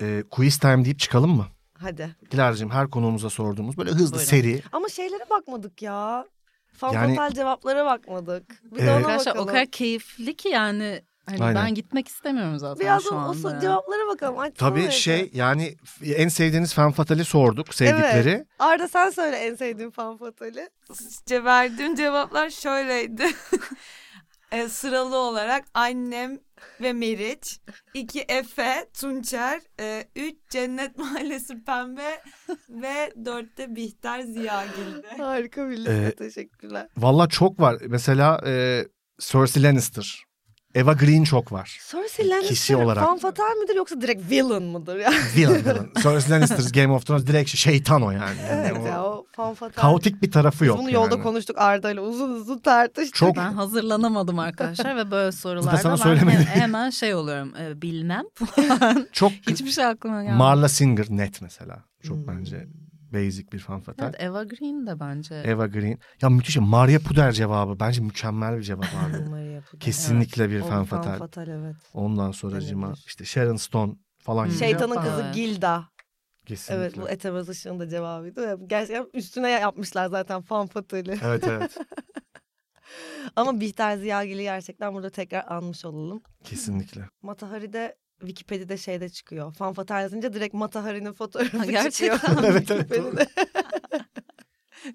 E: ee, quiz time deyip çıkalım mı?
C: Hadi.
E: Dilara'cığım her konuğumuza sorduğumuz böyle hızlı
F: Buyurun.
E: seri.
C: Ama şeylere bakmadık ya. Fantasal
E: Yani-
C: cevaplara bakmadık. Bir
E: Ee,
C: de ona
F: Arkadaşlar o
C: bakalım.
F: kadar keyifli ki yani hani
E: Aynen.
F: ben gitmek istemiyorum zaten
C: Biraz
F: şu
C: o, o
F: anda.
C: so- cevaplara bakalım. Açsana
E: Tabii
C: Efe.
E: şey yani f- en sevdiğiniz fan fatali sorduk sevdikleri.
C: Evet. Arda sen söyle en sevdiğin fan fatali.
G: İşte verdiğim cevaplar şöyleydi. E, sıralı olarak annem ve Meriç. iki Efe, Tunçer. E, üç Cennet Mahallesi Pembe. ve dörtte Bihter Ziyagil'di.
C: Harika bir liste.
E: Ee,
C: Teşekkürler.
E: Valla çok var. Mesela e, Cersei Lannister. Eva Green çok var.
C: Cersei Lannister
E: Kişi olarak.
C: fan fatal midir yoksa direkt villain mıdır? ya?
E: Villain villain. Cersei Lannister Game of Thrones direkt şey, şeytan o yani. Yani
C: evet
E: o
C: ya o fan fatal.
E: Kaotik bir tarafı
C: Biz
E: yok
C: bunu yolda
E: yani.
C: konuştuk Arda ile uzun uzun tartıştık.
E: Çok
F: Ben hazırlanamadım arkadaşlar ve böyle sorularda
E: sana
F: ben
E: söylemedim.
F: he- hemen şey oluyorum e, bilmem falan.
E: çok
F: Hiçbir şey aklıma gelmedi.
E: Marla Singer net mesela. Çok
C: Hmm.
E: bence basic bir fan fatal.
F: Evet, Eva Green de bence.
E: Eva Green. Ya müthiş. Maria Puder cevabı. Bence mükemmel bir cevap abi. Kesinlikle bir fan fatal.
C: evet.
E: Ondan sonracıma
C: Denebilir.
E: işte Sharon Stone falan. gibi.
C: Hmm. Şeytanın
F: Yapma.
C: kızı
F: Evet.
C: Gilda.
E: Kesinlikle.
C: Evet bu Etemez Işık'ın da cevabıydı. Ve Gerçekten üstüne yapmışlar zaten fan fatali.
E: Evet evet.
C: Ama Bihter Ziyagil'i gerçekten burada tekrar anmış olalım.
E: Kesinlikle.
C: Matahari'de Wikipedia'da şeyde çıkıyor. Fan fatal yazınca direkt Matahari'nin fotoğrafı
F: Ha,
C: gerçekten. çıkıyor.
F: gerçekten mi?
E: Evet, evet, doğru.
C: Wikipedia'da.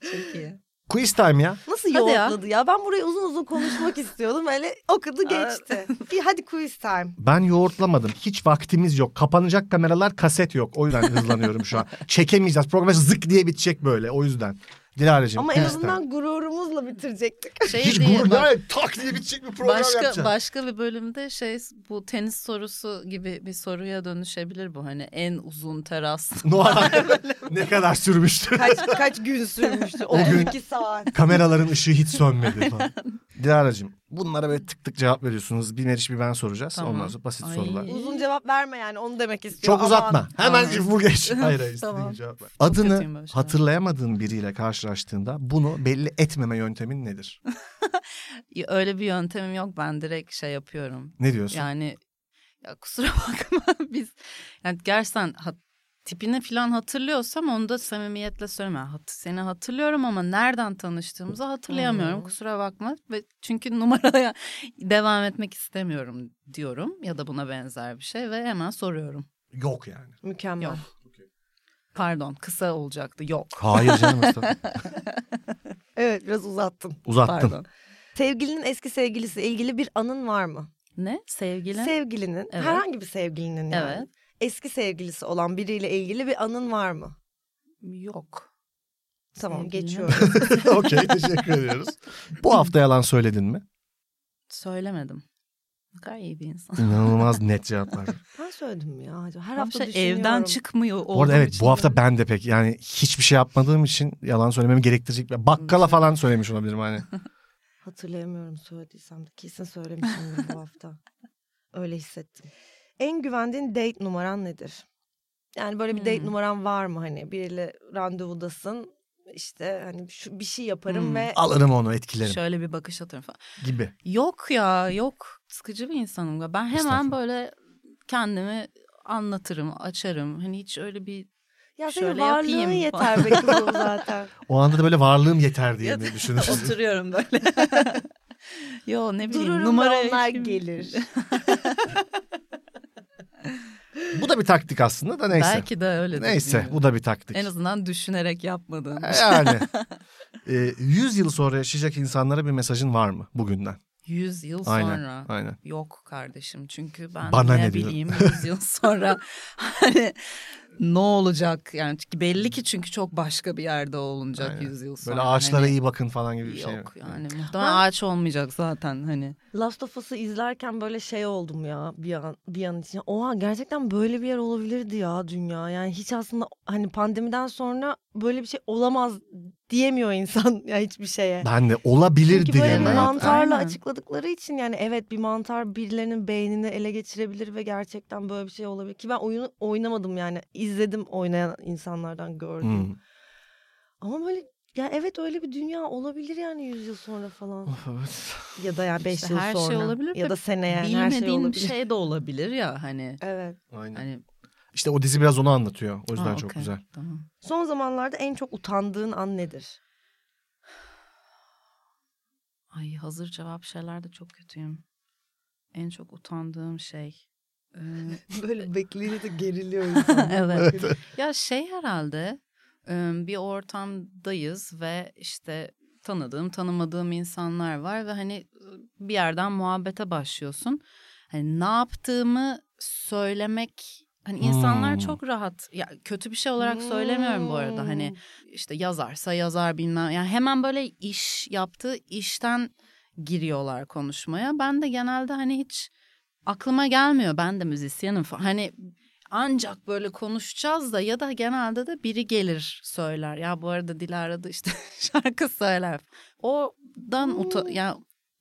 F: Çok iyi.
E: Quiz time ya.
C: Nasıl
F: Hadi ya.
C: yoğurtladı ya? Ben burayı uzun uzun konuşmak istiyordum. Öyle okudu geçti. Bir hadi quiz time.
E: Ben yoğurtlamadım. Hiç vaktimiz yok. Kapanacak kameralar kaset yok. O yüzden hızlanıyorum şu an. Çekemeyeceğiz. Program zık diye bitecek böyle. O yüzden. Dilara'cığım.
C: Ama en
E: quiz time.
C: azından gururumuzla bitirecektik.
F: Şey
E: Hiç
F: diye-
E: gurur
F: bak-
E: yani tak diye bitecek bir program
F: başka
E: yapacağız.
F: başka bir bölümde şey bu tenis sorusu gibi bir soruya dönüşebilir bu hani en uzun teras.
E: Noah ne kadar sürmüştü.
C: Kaç, kaç gün sürmüştü?
E: O gün-
C: 12 saat.
E: Kameraların ışığı hiç sönmedi falan. Dilara'cığım bunlara böyle tık tık cevap veriyorsunuz. Bir Meriç bir ben soracağız.
F: Tamam.
E: Ondan sonra basit
F: Ay.
E: sorular.
C: Uzun cevap verme yani onu demek istiyorum.
E: Çok uzatma.
C: Aman.
E: Hemen
F: Tamam.
E: bu geç. Hayır hayır istediğin
F: Tamam.
E: cevap ver.
F: Çok kötüyüm
E: Adını
F: böyle şeylerde.
E: hatırlayamadığın biriyle karşılaştığında bunu belli etmeme yöntemin nedir?
F: Öyle bir yöntemim yok ben direkt şey yapıyorum.
E: Ne diyorsun?
F: Yani ya kusura bakma biz yani gerçekten ha- tipini falan hatırlıyorsam onu da samimiyetle söyleme. Hat- seni hatırlıyorum ama nereden tanıştığımızı hatırlayamıyorum.
C: Hmm.
F: Kusura bakma ve çünkü numaraya devam etmek istemiyorum diyorum ya da buna benzer bir şey ve hemen soruyorum.
E: Yok yani.
C: Mükemmel.
F: Yok. Pardon kısa olacaktı yok.
E: Hayır canım. estağfurullah.
C: Evet biraz uzattım.
E: Uzattın.
F: Pardon.
C: Sevgilinin eski sevgilisiyle ilgili bir anın var mı?
F: Ne sevgili?
C: Sevgilinin,
F: Evet.
C: herhangi bir sevgilinin yani.
F: Evet.
C: Eski sevgilisi olan biriyle ilgili bir anın var mı?
F: yok.
C: Tamam
F: Sevgilinin-
C: geçiyorum.
E: Okey teşekkür ediyoruz. Bu hafta yalan söyledin mi?
F: Söylemedim. Ne kadar iyi bir insan.
E: İnanılmaz net cevaplar.
C: ben söyledim mi ya? acaba? Her
F: Tamam
C: hafta
F: işte
C: düşünüyorum.
F: evden çıkmıyor
E: Bu arada
F: olduğum
E: evet
F: için
E: bu hafta
F: böyle-
E: ben de pek yani hiçbir şey yapmadığım için yalan söylememi gerektirecek. Bakkala falan söylemiş olabilirim hani.
C: Hatırlayamıyorum söylediysem de kesin söylemişimdir bu hafta. Öyle hissettim. En güvendiğin date numaran nedir? Yani böyle bir date
F: Hmm.
C: numaran var mı hani biriyle randevudasın işte hani şu bir şey yaparım
F: Hmm.
C: ve
E: Alırım onu etkilerim
F: Şöyle bir bakış atıyorum falan.
E: gibi.
F: Yok ya yok. Sıkıcı bir insanım galiba. Ben hemen
E: Estağfurullah.
F: böyle kendimi anlatırım, açarım. Hani hiç öyle bir
C: ya senin
F: şöyle
C: varlığın
F: yapayım
C: yeter be kızım zaten.
E: O anda da böyle varlığım yeter diye
F: Ya
E: mi
F: da-
E: düşünürsün?
F: oturuyorum böyle. Yo ne bileyim
C: Dururum
F: numara
C: da onlar
F: hiç-
C: gelir.
E: bu da bir taktik aslında da neyse.
F: Belki de öyle.
E: Neyse bu da bir taktik.
F: En azından düşünerek
E: Ee,
F: yapmadığım. şey.
E: Yani. e, 100 yıl sonra yaşayacak insanlara bir mesajın var mı bugünden?
F: 100 yıl
E: Aynen.
F: sonra.
E: Aynen.
F: Yok kardeşim çünkü ben
E: Bana
F: ne,
E: ne diyor?
F: bileyim 100 yıl sonra hani ne olacak yani çünkü belli ki çünkü çok başka bir yerde olunacak
E: Aynen.
F: 100 yıl sonra.
E: Böyle ağaçlara
F: Hani
E: iyi bakın falan gibi bir şey.
F: Yok yani muhtemelen ağaç olmayacak zaten hani.
C: Last of Us'ı izlerken böyle şey oldum ya bir an, bir an için. Oha gerçekten böyle bir yer olabilirdi ya dünya. Yani hiç aslında hani pandemiden sonra böyle bir şey olamaz diyemiyor insan ya hiçbir şeye.
E: Ben de olabilir
C: Çünkü böyle
E: diye
F: diyemem.
E: ben.
C: mantarla
F: Aynen.
C: açıkladıkları için yani evet bir mantar birilerinin beynini ele geçirebilir ve gerçekten böyle bir şey olabilir. Ki ben oyunu oynamadım yani izledim oynayan insanlardan gördüm.
E: Hmm.
C: Ama böyle ya evet öyle bir dünya olabilir yani 100 yıl sonra falan.
E: Of, evet.
C: Ya da yani 5
F: İşte
C: yıl
F: her şey
C: sonra.
F: olabilir
C: Ya
F: ve
C: da seneye her şey
F: Bilmediğin
C: olabilir.
F: şey, de olabilir ya hani.
C: Evet.
E: Aynen.
F: Hani
E: İşte o dizi biraz onu anlatıyor. O yüzden
F: Ha,
E: çok
F: okey,
E: güzel.
F: Tamam.
C: Son zamanlarda en çok utandığın an nedir?
F: Ay hazır cevap şeylerde çok kötüyüm. En çok utandığım şey. Ee,
C: Böyle bekleyince de geriliyor
F: evet. Ya şey herhalde e, bir ortamdayız ve işte tanıdığım tanımadığım insanlar var ve hani e, bir yerden muhabbete başlıyorsun. Hani ne yaptığımı söylemek hani insanlar
E: Hmm.
F: çok rahat ya kötü bir şey olarak söylemiyorum bu arada hani
C: Hmm.
F: işte yazarsa yazar bilmem yani hemen böyle iş yaptığı işten giriyorlar konuşmaya. Ben de genelde hani hiç aklıma gelmiyor ben de müzisyenim falan. Hani ancak böyle konuşacağız da ya da genelde de biri gelir söyler. Ya bu arada Dilara da işte şarkı söyler. Oradan uta ya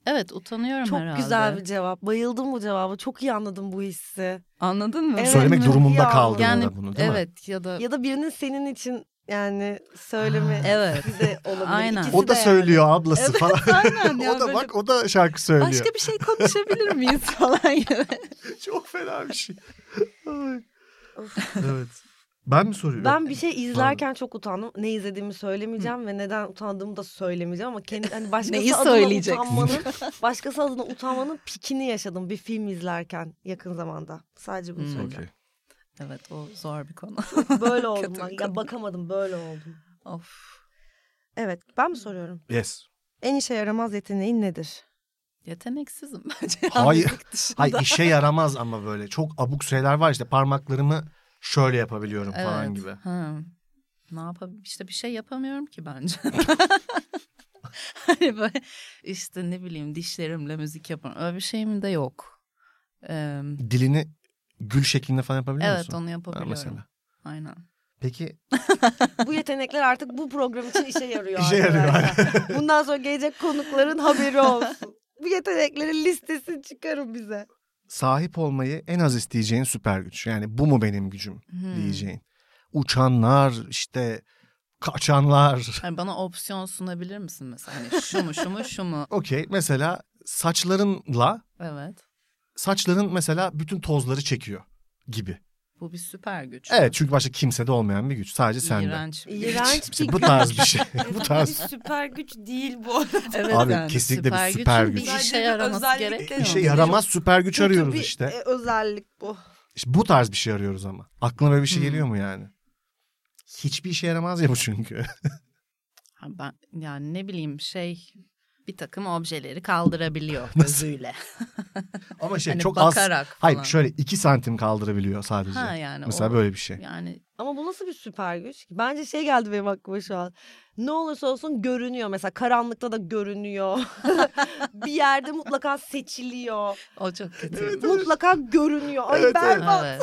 F: evet utanıyorum
C: Çok
F: herhalde.
C: güzel bir cevap. Bayıldım bu cevaba. Çok iyi anladım bu hissi.
F: Anladın mı?
C: Evet.
E: Söylemek
C: çok iyi
E: durumunda kaldın
F: Yani
E: da bunu değil mi?
F: evet ya da
C: Ya da birinin senin için yani söyleme
F: Ah. evet.
C: de olabilir.
F: Aynen.
C: İkisi
E: O da
C: de yani.
E: söylüyor ablası falan.
F: Aynen ya,
E: o da
F: böyle
E: bak o da şarkı söylüyor.
F: başka bir şey konuşabilir miyiz falan gibi.
E: Çok fena bir şey. Ay. evet. Ben mi soruyorum?
C: Ben bir şey izlerken çok utandım. Ne izlediğimi söylemeyeceğim ve neden utandığımı da söylemeyeceğim ama kendi hani başkası
F: Neyi
C: adına
F: söyleyeceksin?
C: utanmanın, başkası adına utanmanın pikini yaşadım bir film izlerken yakın zamanda. Sadece bunu
F: Hmm.
C: söyleyeceğim.
E: Okey.
F: Evet o zor bir konu.
C: Böyle oldum
F: Kötü
C: ben.
F: bir
C: Ya
F: konu.
C: bakamadım böyle oldum.
F: Of.
C: Evet ben mi soruyorum?
E: Yes.
C: En işe yaramaz yeteneğin nedir?
F: Yeteneksizim bence.
E: Hayır.
F: Müzik dışında.
E: Hayır işe yaramaz ama böyle çok abuk şeyler var işte parmaklarımı şöyle yapabiliyorum falan
F: Evet.
E: gibi.
F: Ha. Ne yapabilirim? İşte bir şey yapamıyorum ki bence. hani böyle işte ne bileyim dişlerimle müzik yaparım. Öyle bir şeyim de yok. Ee,
E: Dilini gül şeklinde falan yapabiliyor
F: evet
E: musun?
F: onu
E: Ha,
F: yapabiliyorum.
E: mesela.
F: Aynen.
E: Peki
C: Bu yetenekler artık bu program için işe yarıyor.
E: İşe yarıyor.
C: arkadaşlar. Bundan sonra gelecek konukların haberi olsun. Bu yeteneklerin listesini çıkarın bize.
E: sahip olmayı en az isteyeceğin süper güç. Yani bu mu benim gücüm
F: Hmm.
E: diyeceğin. Uçanlar işte kaçanlar.
F: Hani bana opsiyon sunabilir misin mesela? Hani şu mu şu mu şu mu?
E: Okey mesela saçlarınla
F: Evet.
E: saçların mesela bütün tozları çekiyor gibi.
F: Bu bir süper güç.
E: Evet çünkü başka kimsede olmayan bir güç sadece sende.
F: İğrenç. bir güç.
C: İğrenç
E: İşte
C: bir
E: bu tarz bir şey. bu
G: Bir
E: tarz.
G: süper güç değil bu.
F: Evet,
E: Abi, kesinlikle bir
F: gücün
E: süper
F: bir
E: güç.
G: Sadece
F: işe
G: bir
F: yaraması
G: özellik
F: gerekiyor.
G: değil.
E: İşe yaramaz süper güç
C: Kötü
E: arıyoruz
C: bir,
E: işte.
C: e, özellik bu.
E: İşte bu tarz bir şey arıyoruz ama. Aklına böyle bir şey
F: Hmm.
E: geliyor mu yani? Hiçbir işe yaramaz ya bu çünkü.
F: Ha, Ben yani ne bileyim şey bir takım objeleri kaldırabiliyor gözüyle.
E: Ama şey
F: Hani
E: çok az.
F: bakarak
E: Hayır
F: falan.
E: şöyle iki santim kaldırabiliyor sadece.
F: Ha yani
E: Mesela
F: o-
E: böyle bir şey.
F: Yani
C: Ama bu nasıl bir süper güç? Bence şey geldi benim aklıma şu an. Ne olursa olsun görünüyor mesela karanlıkta da görünüyor. bir yerde mutlaka seçiliyor.
F: o çok kötü.
C: mutlaka görünüyor. Ay
E: Evet,
C: ben
F: Evet.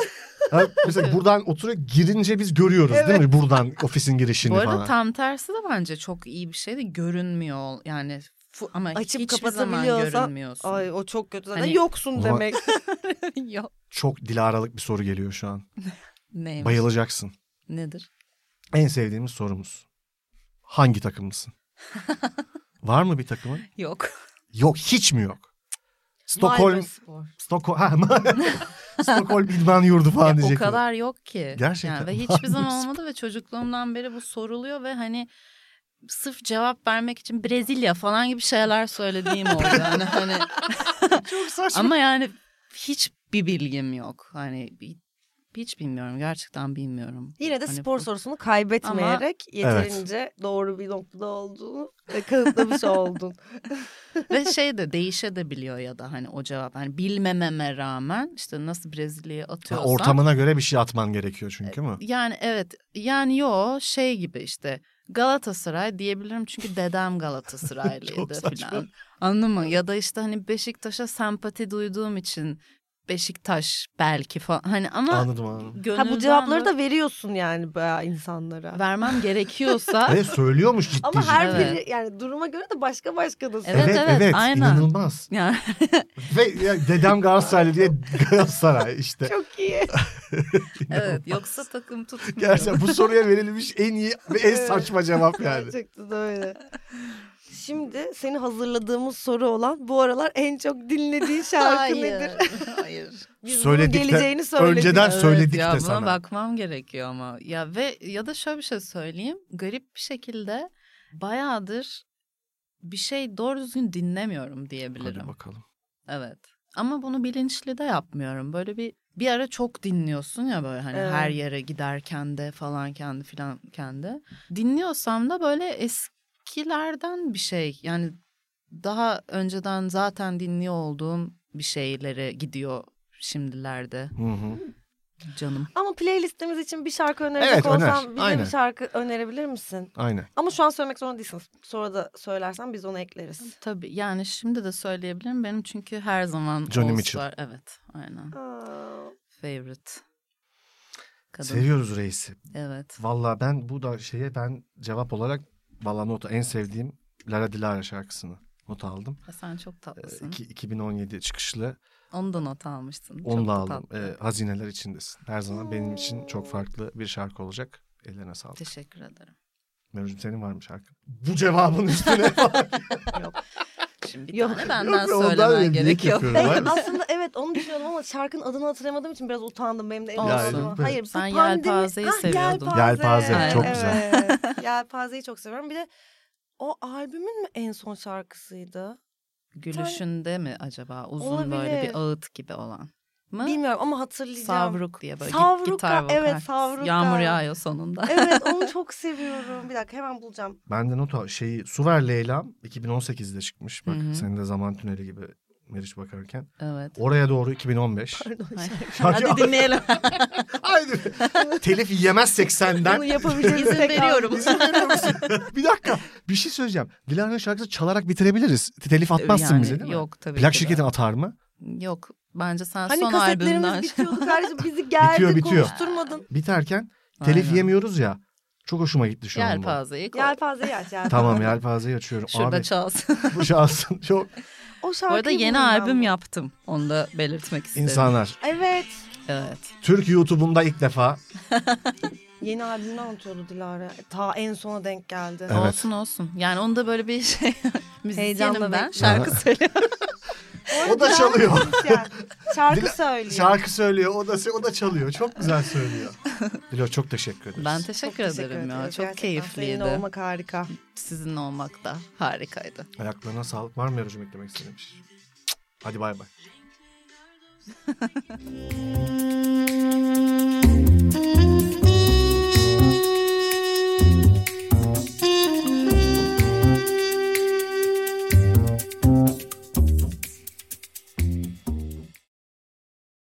E: Ha, mesela buradan oturuyor girince biz görüyoruz değil mi? Buradan ofisin girişini
F: Bu arada
E: falan.
F: tam tersi de bence çok iyi bir şey de görünmüyor ol- yani fu- ama
C: Açıp
F: hiçbir zaman
C: kapatabiliyorsan-
F: görünmüyorsun.
C: Ay o çok kötü zaten.
F: Hani-
C: Yoksun
E: Ulan-
C: demek.
F: Yok.
E: Çok dilaralık bir soru geliyor şu an.
F: Neymiş?
E: Bayılacaksın.
F: Nedir?
E: En sevdiğimiz sorumuz. Hangi takımlısın? Var mı bir takımın?
F: Yok.
E: Yok hiç mi yok? Stockholm,
C: Spor.
E: Stockholm, ha, Stockholm idman yurdu falan
F: Ya, o
E: diyecektim.
F: kadar yok ki.
E: Gerçekten
F: Yani ve
E: var
F: hiçbir zaman
E: mı?
F: olmadı ve çocukluğumdan beri bu soruluyor ve hani sırf cevap vermek için Brezilya falan gibi şeyler söylediğim oldu. Yani hani
E: Çok saçma.
F: ama yani hiçbir bilgim yok. Hani bir- Hiç bilmiyorum gerçekten bilmiyorum.
C: Yine de
F: Hani
C: spor
F: bu-
C: sorusunu kaybetmeyerek yeterince doğru bir noktada olduğunu e, kanıtlamış oldun.
F: Ve şey de değişebiliyor ya da hani o cevap. Hani bilmememe rağmen işte nasıl Brezilya'ya
E: Ha,
F: atıyorsam.
E: ortamına göre bir şey atman gerekiyor çünkü mü?
F: Yani evet yani yo şey gibi işte Galatasaray diyebilirim çünkü dedem
E: Çok
F: Galatasaraylıydı
E: saçma.
F: falan. Anladın mı? Ya da işte hani Beşiktaş'a sempati duyduğum için Beşiktaş belki falan. Hani ama
E: Anladım anladım.
F: gönülden
C: Ha, bu cevapları
F: de
C: da veriyorsun yani bayağı insanlara.
F: vermem gerekiyorsa
E: Hayır söylüyormuş ciddi
C: Ama her
F: Evet.
C: biri yani duruma göre de başka başka da
F: Evet,
E: evet,
F: evet,
E: evet,
F: aynen.
E: inanılmaz.
F: yani
E: Ve ya, dedem Galatasaraylı diye Galatasaray işte.
C: Çok iyi.
F: evet yoksa takım tutmuyorum.
E: Gerçekten bu soruya verilmiş en iyi ve en
C: Evet.
E: saçma cevap yani.
C: Gerçekten öyle. Şimdi seni hazırladığımız soru olan bu aralar en çok dinlediğin şarkı nedir?
F: Hayır.
C: Biz bunun
E: Söyledik de-
C: geleceğini söyledik.
E: önceden- Ben söyledik
F: ya,
E: de
F: buna
E: sana.
F: bakmam gerekiyor ama. Ya ve ya da şöyle bir şey söyleyeyim. Garip bir şekilde bayağıdır bir şey doğru düzgün dinlemiyorum diyebilirim.
E: Hadi bakalım.
F: Evet. Ama bunu bilinçli de yapmıyorum. Böyle bir bir ara çok dinliyorsun ya böyle hani
C: Evet.
F: her yere giderken de falan kendi filan kendi. Dinliyorsam da böyle eskilerden bir şey. Yani daha önceden zaten dinliyor olduğum bir şeylere gidiyor şimdilerde
E: Hı hı.
F: canım.
C: Ama playlistimiz için bir şarkı önerecek
E: Evet, öner.
C: olsam bize
E: Aynen.
C: bir şarkı önerebilir misin?
E: Aynen.
C: Ama şu an söylemek zorunda değilsiniz. Sonra da söylersen biz onu ekleriz.
F: Tabii yani şimdi de söyleyebilirim. Benim çünkü her zaman
E: Johnny
F: Oğuz
E: Mitchell.
F: var. Evet aynen.
C: Aa,
F: Favorite. Kadın.
E: Seviyoruz reisi.
F: Evet.
E: Valla ben bu da şeye ben cevap olarak valla nota en sevdiğim Lara Dilara şarkısını not aldım.
F: E, Sen çok
E: Ee,
F: tatlısın.
E: iki- 2017 çıkışlı.
F: Onu da not almıştın. Çok
E: Onu da
F: da
E: aldım.
F: tatlı.
E: Ee, hazineler içindesin. Her zaman benim için çok farklı bir şarkı olacak. Ellerine sağlık.
F: Teşekkür ederim.
E: Mevcut'um senin var mı şarkı? Bu cevabın üstüne
F: Şimdi
C: Yok,
F: tane benden
E: Yok, ondan
F: söylemen
E: önce niye
F: gerekiyor.
E: yapıyorum
C: Ben
E: ben?
C: aslında evet onu düşünüyordum ama şarkının adını hatırlamadığım için biraz utandım benim de. emin
F: Olsun.
C: olamadım.
E: Yani,
C: Hayır, bu
F: Ben
C: pandemi-
F: Yelpaze'yi
C: Hah,
F: seviyordum.
E: Yelpaze,
C: Yelpaze,
F: çok
E: güzel.
C: evet. Yelpaze'yi çok seviyorum. Bir de o albümün mü en son şarkısıydı?
F: Gülüşünde mi acaba uzun böyle
C: Olabilir.
F: bir ağıt gibi olan mı?
C: Bilmiyorum ama hatırlayacağım.
F: Savruk diye böyle git-
C: Savruka,
F: gitar vokal.
C: evet, Savruka.
F: Yağmur yağıyor sonunda.
C: Evet onu çok seviyorum. Bir dakika hemen bulacağım.
E: Ben de not al. Şeyi Suver Leyla'm 2018'de çıkmış. Bak
F: Hı hı.
E: senin de zaman tüneli gibi Meriç bakarken.
F: evet.
E: Oraya doğru 2015. Şarkı-
F: Hadi dinleyelim.
E: Haydi. Telif yiyemezsek
C: Bunu
E: senden.
C: yapabileceğiz.
F: İzin veriyorum.
E: İzin veriyor musun? bir dakika. Bir şey söyleyeceğim. Dilara'nın şarkısı çalarak bitirebiliriz. Telif atmazsın
F: Yani
E: bize değil mi?
F: Yok tabii.
E: Plak
F: ki de.
E: şirketin atar mı?
F: Yok. Bence sen
C: Hani
F: son albümden.
C: kasetlerimiz bitiyordu kardeşim. Bizi geldi
E: Bitiyor, bitiyor.
C: konuşturmadın.
E: Biterken telif
F: Aynen.
E: yemiyoruz ya. Çok hoşuma gitti şu an. bu.
F: Yelpazeyi koy.
C: Yelpazeyi aç yelpaze.
E: Tamam yelpazeyi açıyorum.
F: Şurada
E: Abi
F: çalsın.
E: bu şahsın çok
C: O
F: Bu
C: şarkıyı
F: arada
C: buldum
F: yeni
C: ben
F: albüm
C: bu.
F: yaptım. Onu da belirtmek isterim.
E: insanlar.
C: Evet.
F: Evet.
E: Türk YouTube'umda ilk defa
C: Yeni albümünü anlatıyordu Dilara. Ta en sona denk geldi.
E: Evet.
F: Olsun olsun. Yani onu da böyle bir şey. Müzisyenim
C: Heyecanla
F: ben.
C: bekliyorum.
F: Şarkı söylüyorum.
E: o da çalıyor.
C: Yani şarkı
E: Dila-
C: söylüyor.
E: Şarkı söylüyor. O da o da çalıyor. Çok güzel söylüyor. Dilo çok teşekkür ederiz.
F: Ben
C: Çok
F: teşekkür, ederim ya.
C: ediyoruz.
F: Çok
C: Gerçekten
F: keyifliydi.
C: Seninle olmak harika.
F: Sizinle olmak da harikaydı.
E: Ayaklarına sağlık. Var mı Yarucuğum eklemek istediğin bir şey? Hadi bay bay.